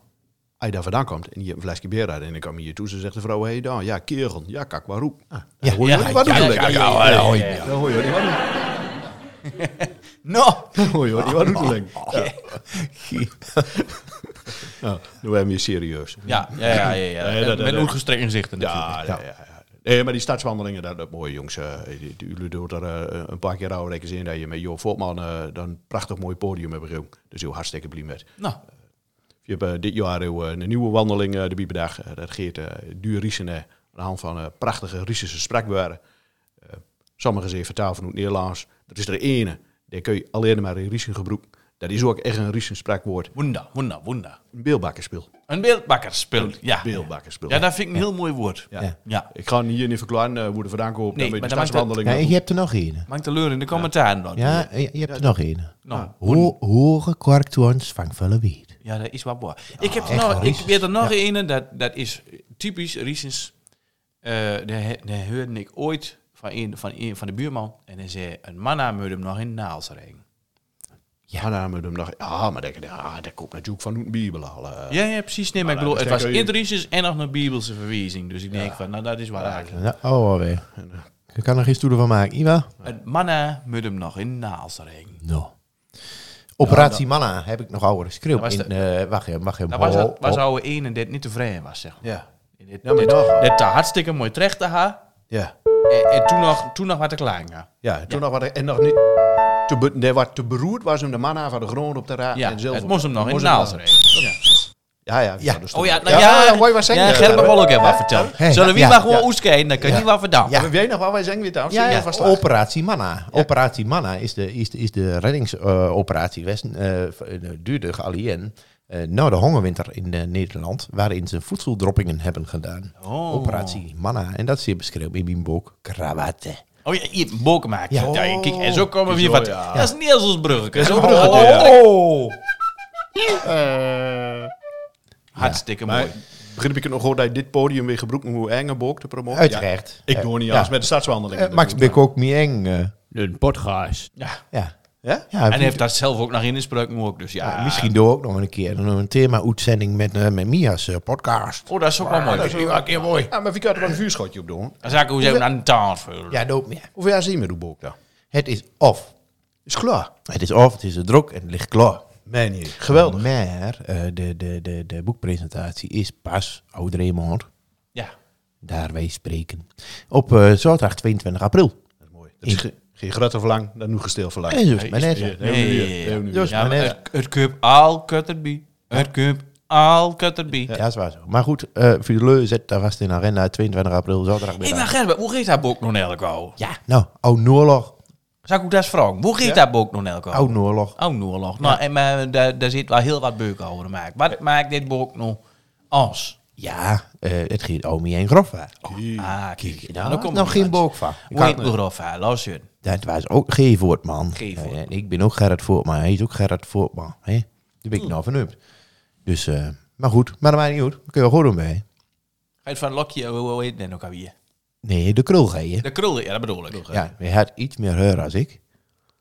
F: je daar vandaan komt en je hebt een flesje bier uit en dan kom je hier toe, ze zegt de vrouw, hé hey, dan, ja kerel, ja kak, waar roep. Ah,
D: Ja,
F: hoor je
C: ja,
F: wel niet wat
C: ja,
F: doen,
C: ja,
F: lekker.
C: ja, ja, ja, ja, ja.
F: Dan hoor je wel niet wat doen.
C: Nou,
F: [LAUGHS] Dan hoor je wel niet wat doen, lekker. [LAUGHS] Ja. Nou, nu hebben we je serieus.
C: Ja, ja, ja, ja. ja.
F: Nee, dat-
C: Met
F: dat-
C: ongestrekt inzichten natuurlijk.
F: Ja, ja, ja. ja. Nee, maar die stadswandelingen, dat, dat mooie jongens. eh, die- die- Jullie doen er eh, een paar keer oude rekken in dat je met Jo Voortman eh, dan een prachtig mooi podium hebt gegeven. Dus heel hartstikke blij met.
C: Nou,
F: Je hebt eh, dit jaar heel, eh, een nieuwe wandeling, eh, de Bieberdag. Eh, dat geeft eh duur Riesen aan de hand van eh, prachtige Riesische spraakwoorden. Eh, sommigen zijn vertaald vanuit Nederlands. Er is er ene, die kun je alleen maar in Riesen gebruiken. Dat is ook echt een recent spraakwoord.
C: Wunda, wunda, wunda.
F: Een beeldbakkerspil.
C: Een beeldbakkerspil. Ja.
F: Beeldbakkerspil.
C: ja, dat vind ik een heel mooi woord.
F: Ja.
C: Ja.
F: Ik ga hier niet verklaren eh, hoe de vandaan
C: Nee,
F: komt. dan weet
C: maar
F: je
C: dan
F: de
C: maakt dat-
F: stadswandeling
D: Ja,
F: naartoe.
D: je hebt er nog een.
C: Maak de leur in de commentaar dan.
D: Ja, je je hebt er nog een.
C: Nou,
D: Ho hoge kwarktoons van vuile wiet.
C: Ja, dat is wat boor. Ik heb er
D: echt
C: nog,
D: wel,
C: ik
D: Riesens.
C: weet er nog een, dat, dat is typisch Riesens. Eh daar, he- daar hoorde ik ooit van een, van een van de buurman. En hij zei, een man aan moet hem nog in Naalsring.
F: Ja, dan hebben we hem nog. Ja, maar dat, ja, dat komt natuurlijk van een Bibel al. eh.
C: Ja, ja, precies. Nee, maar ik
F: nou,
C: bedoel, het
F: dus
C: was
F: daar
C: in
F: kun je-
C: Riesens en nog een Bijbelse verwijzing. Dus ik denk van, nou dat is waar eigenlijk.
D: Ja, oh, alweer. Je kan er geen stoelen van maken, Iwa.
C: Een man aan moet hem nog in Naalsring.
D: Nou. Operatie Manna heb ik nog ouder. Schreeuw
C: was
D: in... eh, wacht even, wacht even.
C: Dat was,
D: Ho,
C: dat, was
D: ho.
C: oude een en dit niet tevreden was, zeg maar.
F: Ja.
C: Dit,
F: Oh, Ja, maar
C: dit,
F: nog.
C: dit te hartstikke mooi terecht te haar.
F: Ja.
C: En, en toen nog, toen nog wat te klaar. Ja.
F: ja toen Nog wat, en nog niet. Te be, nee, wat te beroerd was hem de man aan van de grond op de raad.
C: Ja,
F: en zelf-
C: het moest hem nog in
F: hem
C: Naalsring. Ja.
F: Ja, ja.
D: Ja.
F: dus
C: Oh ja, nou
F: ja,
C: ja,
F: ja, mooi wat zeggen.
C: Ja,
F: Ja,
C: Gerben
F: ja.
C: wil ook even wat vertellen.
D: Hey,
C: Zullen we
D: ja,
C: maar gewoon
F: ja.
C: oeskijken, dan kan je wat vertellen.
D: Ja.
F: Maar Weet je nog wat wij zeggen? Weet je,
D: Ja, ja,
F: vast
D: operatie Manna. Operatie Manna is de, is de, is de reddingsoperatie West. eh, v- de duurde geallieën. eh nou, de hongerwinter in eh, Nederland, waarin ze voedseldroppingen hebben gedaan.
F: Oh.
D: Operatie Manna. En dat is hier beschreven in mijn boek Krawatte.
C: Oh ja, je hebt een boek maken.
D: Ja.
C: Ja. kijk, en Oh, zo komen we weer wat. Dat is niet als ons bruggetje. Zo
D: Oh!
C: Hartstikke mooi.
F: Maar begrijp ik het nog goed dat je dit podium weer gebruikt om hoe Engelbok te promoten?
D: Uiteraard.
F: Ja, ik doe niet
D: Ja.
F: alles met de stadswandeling.
D: Eh, Max Bik ook Mieng. eh,
I: Een potgaas.
D: ja.
F: Ja?
D: ja
C: En hij heeft dat zelf ook nog in de spreuk ook, dus ja.
D: Ja, misschien doe ook nog een keer een- een thema-uitzending met, eh, met Mia's eh, podcast.
C: Oh, dat is ook wel mooi.
F: is wel een keer mooi. Ja, maar wie kan er wel een vuurschotje op doen?
C: Dan zou ik hoe ze aan de tafel.
D: Ja, doop meer.
F: Hoeveel jaar zien we die boek dan?
D: Het is of.
F: Is klaar.
D: Het is of, het is druk en het ligt klaar.
F: Mijn niet. Geweldig.
D: Maar eh, de, de, de, de boekpresentatie is pas, oude Raymond,
C: Ja.
D: daar wij spreken. Op eh, zaterdag 22 april.
F: Dat is mooi. Dat is ge- geen grote verlang, dan nu gesteel verlang.
D: En zo is het maar net.
F: Ja,
C: Nee,
F: nu,
C: ja,
F: ja,
C: ja.
F: nu.
D: Dus
C: Ja,
D: maar
C: maar
D: net.
C: het- Het cup al kutterbie. Het cup al kutterbie.
D: Ja, dat is waar zo. Maar goed, eh voor de leu zet daar vast in de agenda 22 april,
C: Ik ben
D: zaterdagmiddag.
C: Gerben, hoe geeft dat boek nog elk al?
D: Ja, nou, oud-Noorlog.
C: Zou ik ook dat eens vragen? Hoe geeft dat boek nog elk al?
D: Oud-Noorlog.
C: Oh, Noorlog. Nou, en, maar daar, daar zit wel heel wat beuk over te maken. Wat maakt dit boek nou als?
D: Ja, eh, het ging om je en grof waar.
C: Ah, kijk.
D: Nou,
C: dan komt
D: nog
C: er wat.
D: geen boek van.
C: Hoe heet mijn grootvader? Luister.
D: Dat was ook Gevoortman.
C: Gevoort.
D: Eh, en ik ben ook Gerrit Voortman. Hij is ook Gerrit Voortman. Hè? Daar ben ik nou vernupt. Dus, eh, maar goed, maar dat maakt niet uit. Daar kun je wel goed doen bij.
C: Ga je van Lokje, hoe hoe heet dat ook alweer?
D: Nee, de krul ga je.
C: De krul, ja, dat bedoel ik.
D: Ja, hij had iets meer heur als ik.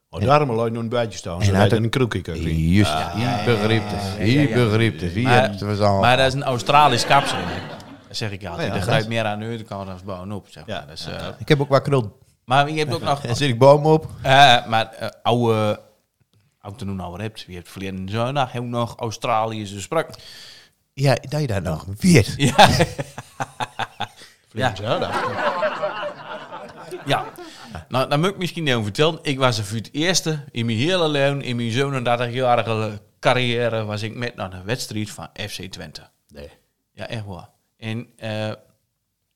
F: Oh, daarom laat je nu een buitje staan,
D: En
F: zodat
D: uit
F: je
D: een-
F: een krukje kan zien.
D: Juist, die begreep het. Die begreep het. Die
C: Maar,
D: heeft het al.
C: maar dat is een Australisch kapsel. Dat zeg ik altijd.
F: ja,
C: dat
F: dat
C: grijpt meer aan de kant dan bovenop. Zeg maar. Dus, eh,
D: Ik heb ook wat krul.
C: maar je hebt ook
D: [LAUGHS]
C: nog...
D: En zit ik boom op.
C: eh, maar eh, oude... Oud te noemen, oude hebt. Je hebt verleden zondag heel nog Australische sprak.
D: Ja, dat je dat nog weet.
C: Ja. ja. Ja. Nou, dat moet ik misschien even vertellen. Ik was er voor het eerste in mijn hele leven, in mijn 37-jarige carrière, was ik met naar de wedstrijd van FC Twente. Nee. Ja, echt waar. En eh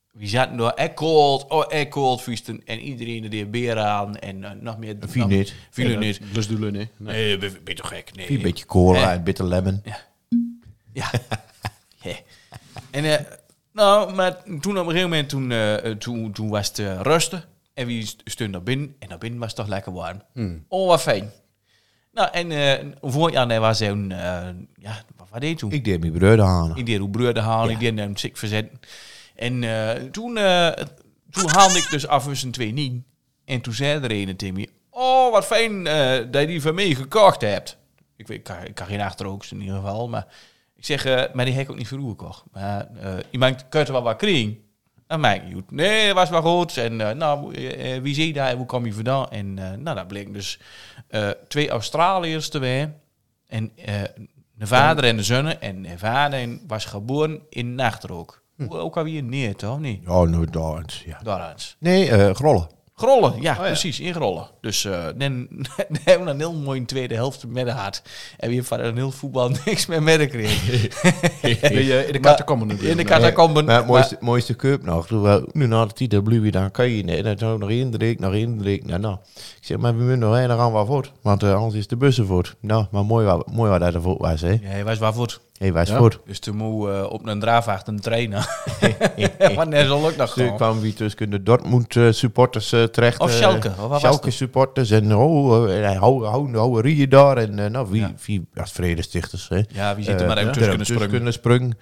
C: we zaten door, ik cold, oh, ik cold, viesten. En iedereen deed beren aan en eh, nog meer.
D: Viel
C: nog-
D: niet.
C: Viel niet.
F: Dus doe je niet.
C: Nee,
F: Nee.
C: ben ben je toch gek? Nee.
D: Een beetje cola
C: Eh.
D: en bitter lemon.
C: Ja. [LAUGHS] Ja. En eh, nou, maar toen op een gegeven moment, toen, eh, eh, toen, toen was het eh, rusten. En wie st- stond naar binnen? En naar binnen was het toch lekker warm. Oh, wat fijn. Nou, en eh vorig jaar nee, was hij een, eh, ja, wat, wat deed hij toen?
D: Ik deed mijn brood aan.
C: Ik deed hoe broeder halen, ik deed hem ziek verzetten. En eh, toen, eh, toen haalde ik dus af en zijn twee niet. En toen zei er een Timmy, oh wat fijn eh, dat je die van mij gekocht hebt. Ik, weet, ik, kan, ik kan geen achterhoogst in ieder geval, maar ik zeg, eh, maar die heb ik ook niet voor u gekocht. Maar eh iemand kunt er wel wat kring. Dat maakt niet uit. Nee, dat was wel goed. En eh, nou, eh, eh, wie zie je daar? Hoe kom je vandaan? En eh, nou, dat bleek dus eh, twee Australiërs te zijn. En eh, de vader en de zonne. En de vader en- was geboren in Nachtrook. Ook alweer neer, toch? Nee,
D: Oh, nou, dat. Ja.
C: daaruit.
D: Nee, eh grollen.
C: Grollen, ja,
F: ja.
C: precies, in Grollen. Dus eh dan [LAUGHS] dan hebben we een heel mooie tweede helft met de hart. En we hebben van een heel voetbal [LAUGHS] niks meer merken.
F: Ben je in de catacomben
C: In de
F: natuurlijk.
C: catacomben.
D: Eh, Maar het
C: maar-
D: mooiste, mooiste cup nog. Toen we, nu na de titel bloeien, dan kan je niet. En dan zou nog één drink, nog één drink. Nou, nou. Ik zeg, maar we moeten nog één, dan gaan we voort. Want eh, anders is de bussen voort. Nou, maar mooi wat, mooi wat hij er voort was, hè. Hé,
C: Ja, hij was waarvoor.
D: hey, was voort.
C: Dus toen moe eh, op een draafhacht een trainen. maar net zo lukt dat
D: Toen
C: gewoon.
D: kwamen we tussen de Dortmund eh, supporters eh, terecht.
C: Of
D: eh,
C: Schalke, of waar was
D: Schalke
C: het?
D: supporters. En oh, eh, en hou, hou, hou rieën daar. En eh, nou, wie, wie als vredestichters, hè.
C: Ja, wie zit er
D: Eh,
C: maar uit
D: ja.
C: tussen
D: Er
C: kunnen springen.
D: kunnen springen.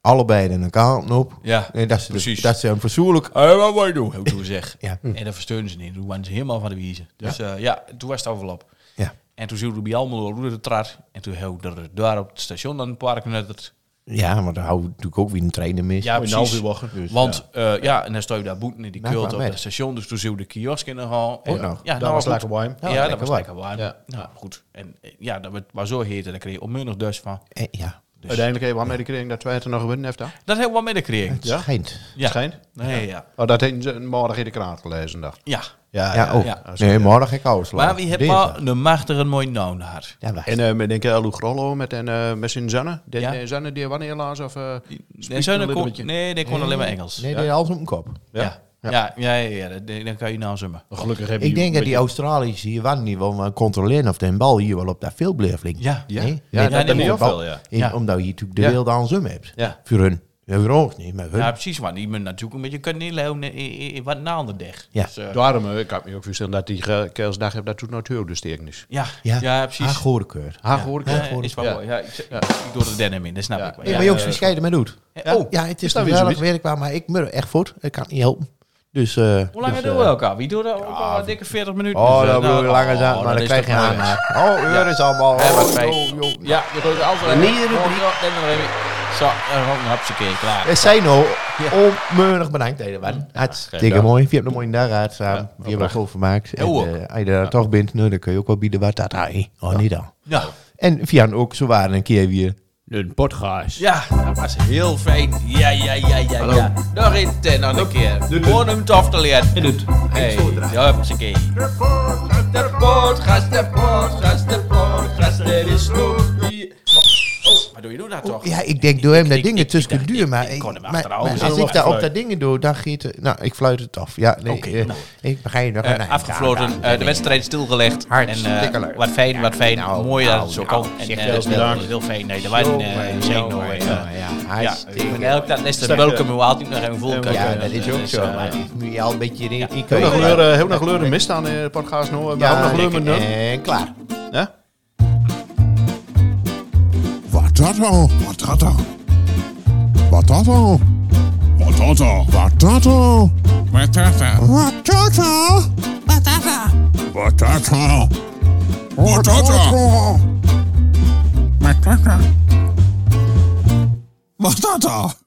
D: Allebei in een kant op.
C: Ja,
D: En dat ze,
C: precies.
D: Dat ze hem verzoenlijk
C: Hé, Eh, wat wij doen. Hoe doen zeg.
D: Ja.
C: En dan versteunen ze niet. Toen waren ze helemaal van de wiezen. Dus eh, ja, toen was het overlap.
D: Ja.
C: En toen zullen we bij Almelo hoe de trad. En toen hebben we er daar op het station aan het park net.
D: Ja, maar daar houden we natuurlijk ook weer een trainer mis.
C: Ja,
F: Nou,
C: precies.
F: weer wachten. Dus,
C: Want ja. ja, en dan sta je daar boeten in die
D: Nou,
C: kult
D: maar
C: op
D: met.
C: het station. Dus toen zullen we de kiosk in gaan.
D: Ook nog.
C: Ja,
F: Dat
C: nou
F: was
C: goed.
F: lekker warm.
C: Ja,
D: lekker
C: dat was
D: warm.
C: lekker warm.
F: Ja.
C: Ja. goed. En eh, ja, dat werd maar zo heet. En daar kreeg je onmiddellijk dus van.
D: Eh, ja.
C: Dus-
F: Uiteindelijk hebben we aan meegekregen dat wij het er nog gewonnen hebben.
C: Dat hebben we wel meegekregen.
D: Het schijnt.
C: Ja.
F: Schijnt.
C: Nee, ja.
F: Oh, dat heeft ze morgen in de krant gelezen. Dacht.
C: Ja.
D: Ja,
F: oh.
D: ook.
C: ja.
D: Nee, morgen ga ik uitslagen.
C: Maar wie heeft wel een machtige mooie naam daar.
D: Ja, maar-
F: En eh met denk ik Lou Grollo met, en, eh met zijn zanne. De,
C: Ja.
F: eh, zanne die wanneer helaas of... eh
C: Nee,
F: een
C: zo
F: little
C: kon,
F: beetje.
C: nee, die kon alleen maar Engels.
D: Nee, die alles op mijn kop.
C: Ja. Ja. Ja, ja, ja, dat- die- dan kan je nou zummen.
F: gelukkig heb
D: Ik denk dat die Australiërs hier waren niet wel maar controleren of den bal hier wel op dat veld blijft liggen.
C: Ja.
D: Nee?
C: Ja,
D: Nee,
F: dat
D: dat
F: ben
D: de
F: ik ook
D: bal-
F: wel, ja.
D: in-
C: Ja.
D: Omdat je natuurlijk de
F: Ja.
D: wereld aan zon hebt.
F: Ja.
D: Voor hun. Ja, voor ons niet, maar voor
C: Ja,
D: hun.
C: precies. Maar die men natuurlijk een beetje kunnen inleven in, in, in wat na de dag.
D: Ja.
C: Dus, eh,
F: Daarom, eh, ik kan me ook voorstellen dat die eh, kerstdag heeft dat toen naar het dus tegen is.
C: ja, ja,
D: Ja. Ah,
C: precies.
D: Haar goede keur.
F: Haar hoor ik.
C: Ja,
F: wel.
C: is wel
F: Ja.
C: mooi. Ja, ik, ik- ik doe er denim in, dat snap
F: Ja.
C: ik. wel.
F: Nee,
C: Ja.
D: maar jongens, verscheiden met doet.
C: Eh, oh,
D: Ja, het
F: is
D: is
F: dat
D: een
F: weer
D: werk
F: zoiets?
D: werk waar, maar ik mur echt voort. Ik kan het niet helpen. Dus, eh
C: hoe lang
D: dus,
C: doen
D: eh,
C: we elkaar? Wie doet dat? ook al een dikke 40 minuten.
D: Oh,
C: Dus, eh,
D: dat bedoel je
C: nou,
D: langer zijn,
C: oh,
D: maar dan
C: is
D: krijg je
C: toch mooi. [LAUGHS]
D: aanmaak. Oh, uur is allemaal.
C: Ja, wat
D: Oh,
C: fijn.
D: joh, joh.
C: Ja, je doet het altijd.
D: Iedere
C: Oh,
D: drie. Eh,
C: ja, neem maar even. Zo, en nog een hapje keer klaar.
D: We zijn al onmeurig bedankt, Edewan. Hartstikke
F: dag.
D: mooi. Je hebt een mooie dag uit samen. we hebben er goed gemaakt. En
C: ook.
D: eh, als je daar toch bent, nou, dan kun je ook wel bieden wat dat hij. Oh, niet dan.
C: Nou,
D: En Vian ook, zo waren een keer weer.
I: Een podcast.
C: ja, dat was heel fijn. Ja, ja, ja, ja, ja. Nog een ten nog een keer. Gewoon om het af te leren.
E: En het
C: Hey,
E: eindsoordraai.
C: hupsakee. De podcast, de podcast, de podcast, er is Snoopy. Oh, maar doe je nou dat toch?
D: Ja, ik denk door hem dat
C: ik-
D: dingen
C: ik-
D: tussen
C: ik-
D: duur,
C: ik-
D: maar,
C: ik
D: ik-
C: kon hem
D: maar-
C: achterhalen.
D: maar
C: Zullen
D: als
C: we
D: ik daar op
C: afsluiten?
D: dat dingen doe, dan giet het... Nou, ik fluit het af. Ja, nee,
C: Oké,
D: eh,
C: nou.
D: ik ga je nog
C: Eh,
D: aan- nee,
C: afgefloten,
D: ja,
C: eh,
D: ja,
C: de
D: nee.
C: wedstrijd stilgelegd. En eh,
D: Hartstikke leuk.
C: wat fijn, wat fijn.
D: Ja, nou,
C: Mooi dat het
D: nou,
C: zo
D: nou,
C: kan. En
D: zeg,
C: eh,
D: heel
C: dat is wel
F: bedankt.
C: heel fijn. Nee, dat was een eh, zenuw. eh,
D: Ja,
C: Ja,
D: hartstikke eh,
C: ik ben elk dat is de welkom u altijd nog even voelen.
D: Ja, dat is
C: Dus,
D: ook zo.
C: eh,
D: maar Moet je al een beetje... erin- Ik
F: Heel nog
D: weet-
F: kleuren, heel nog kleuren mist aan in de podcast nou. eh, We hebben nog kleuren met nul.
D: En Eh, klaar.
F: Ja?
A: Wat dat al? Wat dat al? Wat dat al?
B: Wat dat al?
A: Wat dat al?
B: Wat dat al?
A: Wat dat al?
H: Patata.
B: Wat dat al?
A: Wat dat al?
B: Wat dat al?
A: Wat dat al?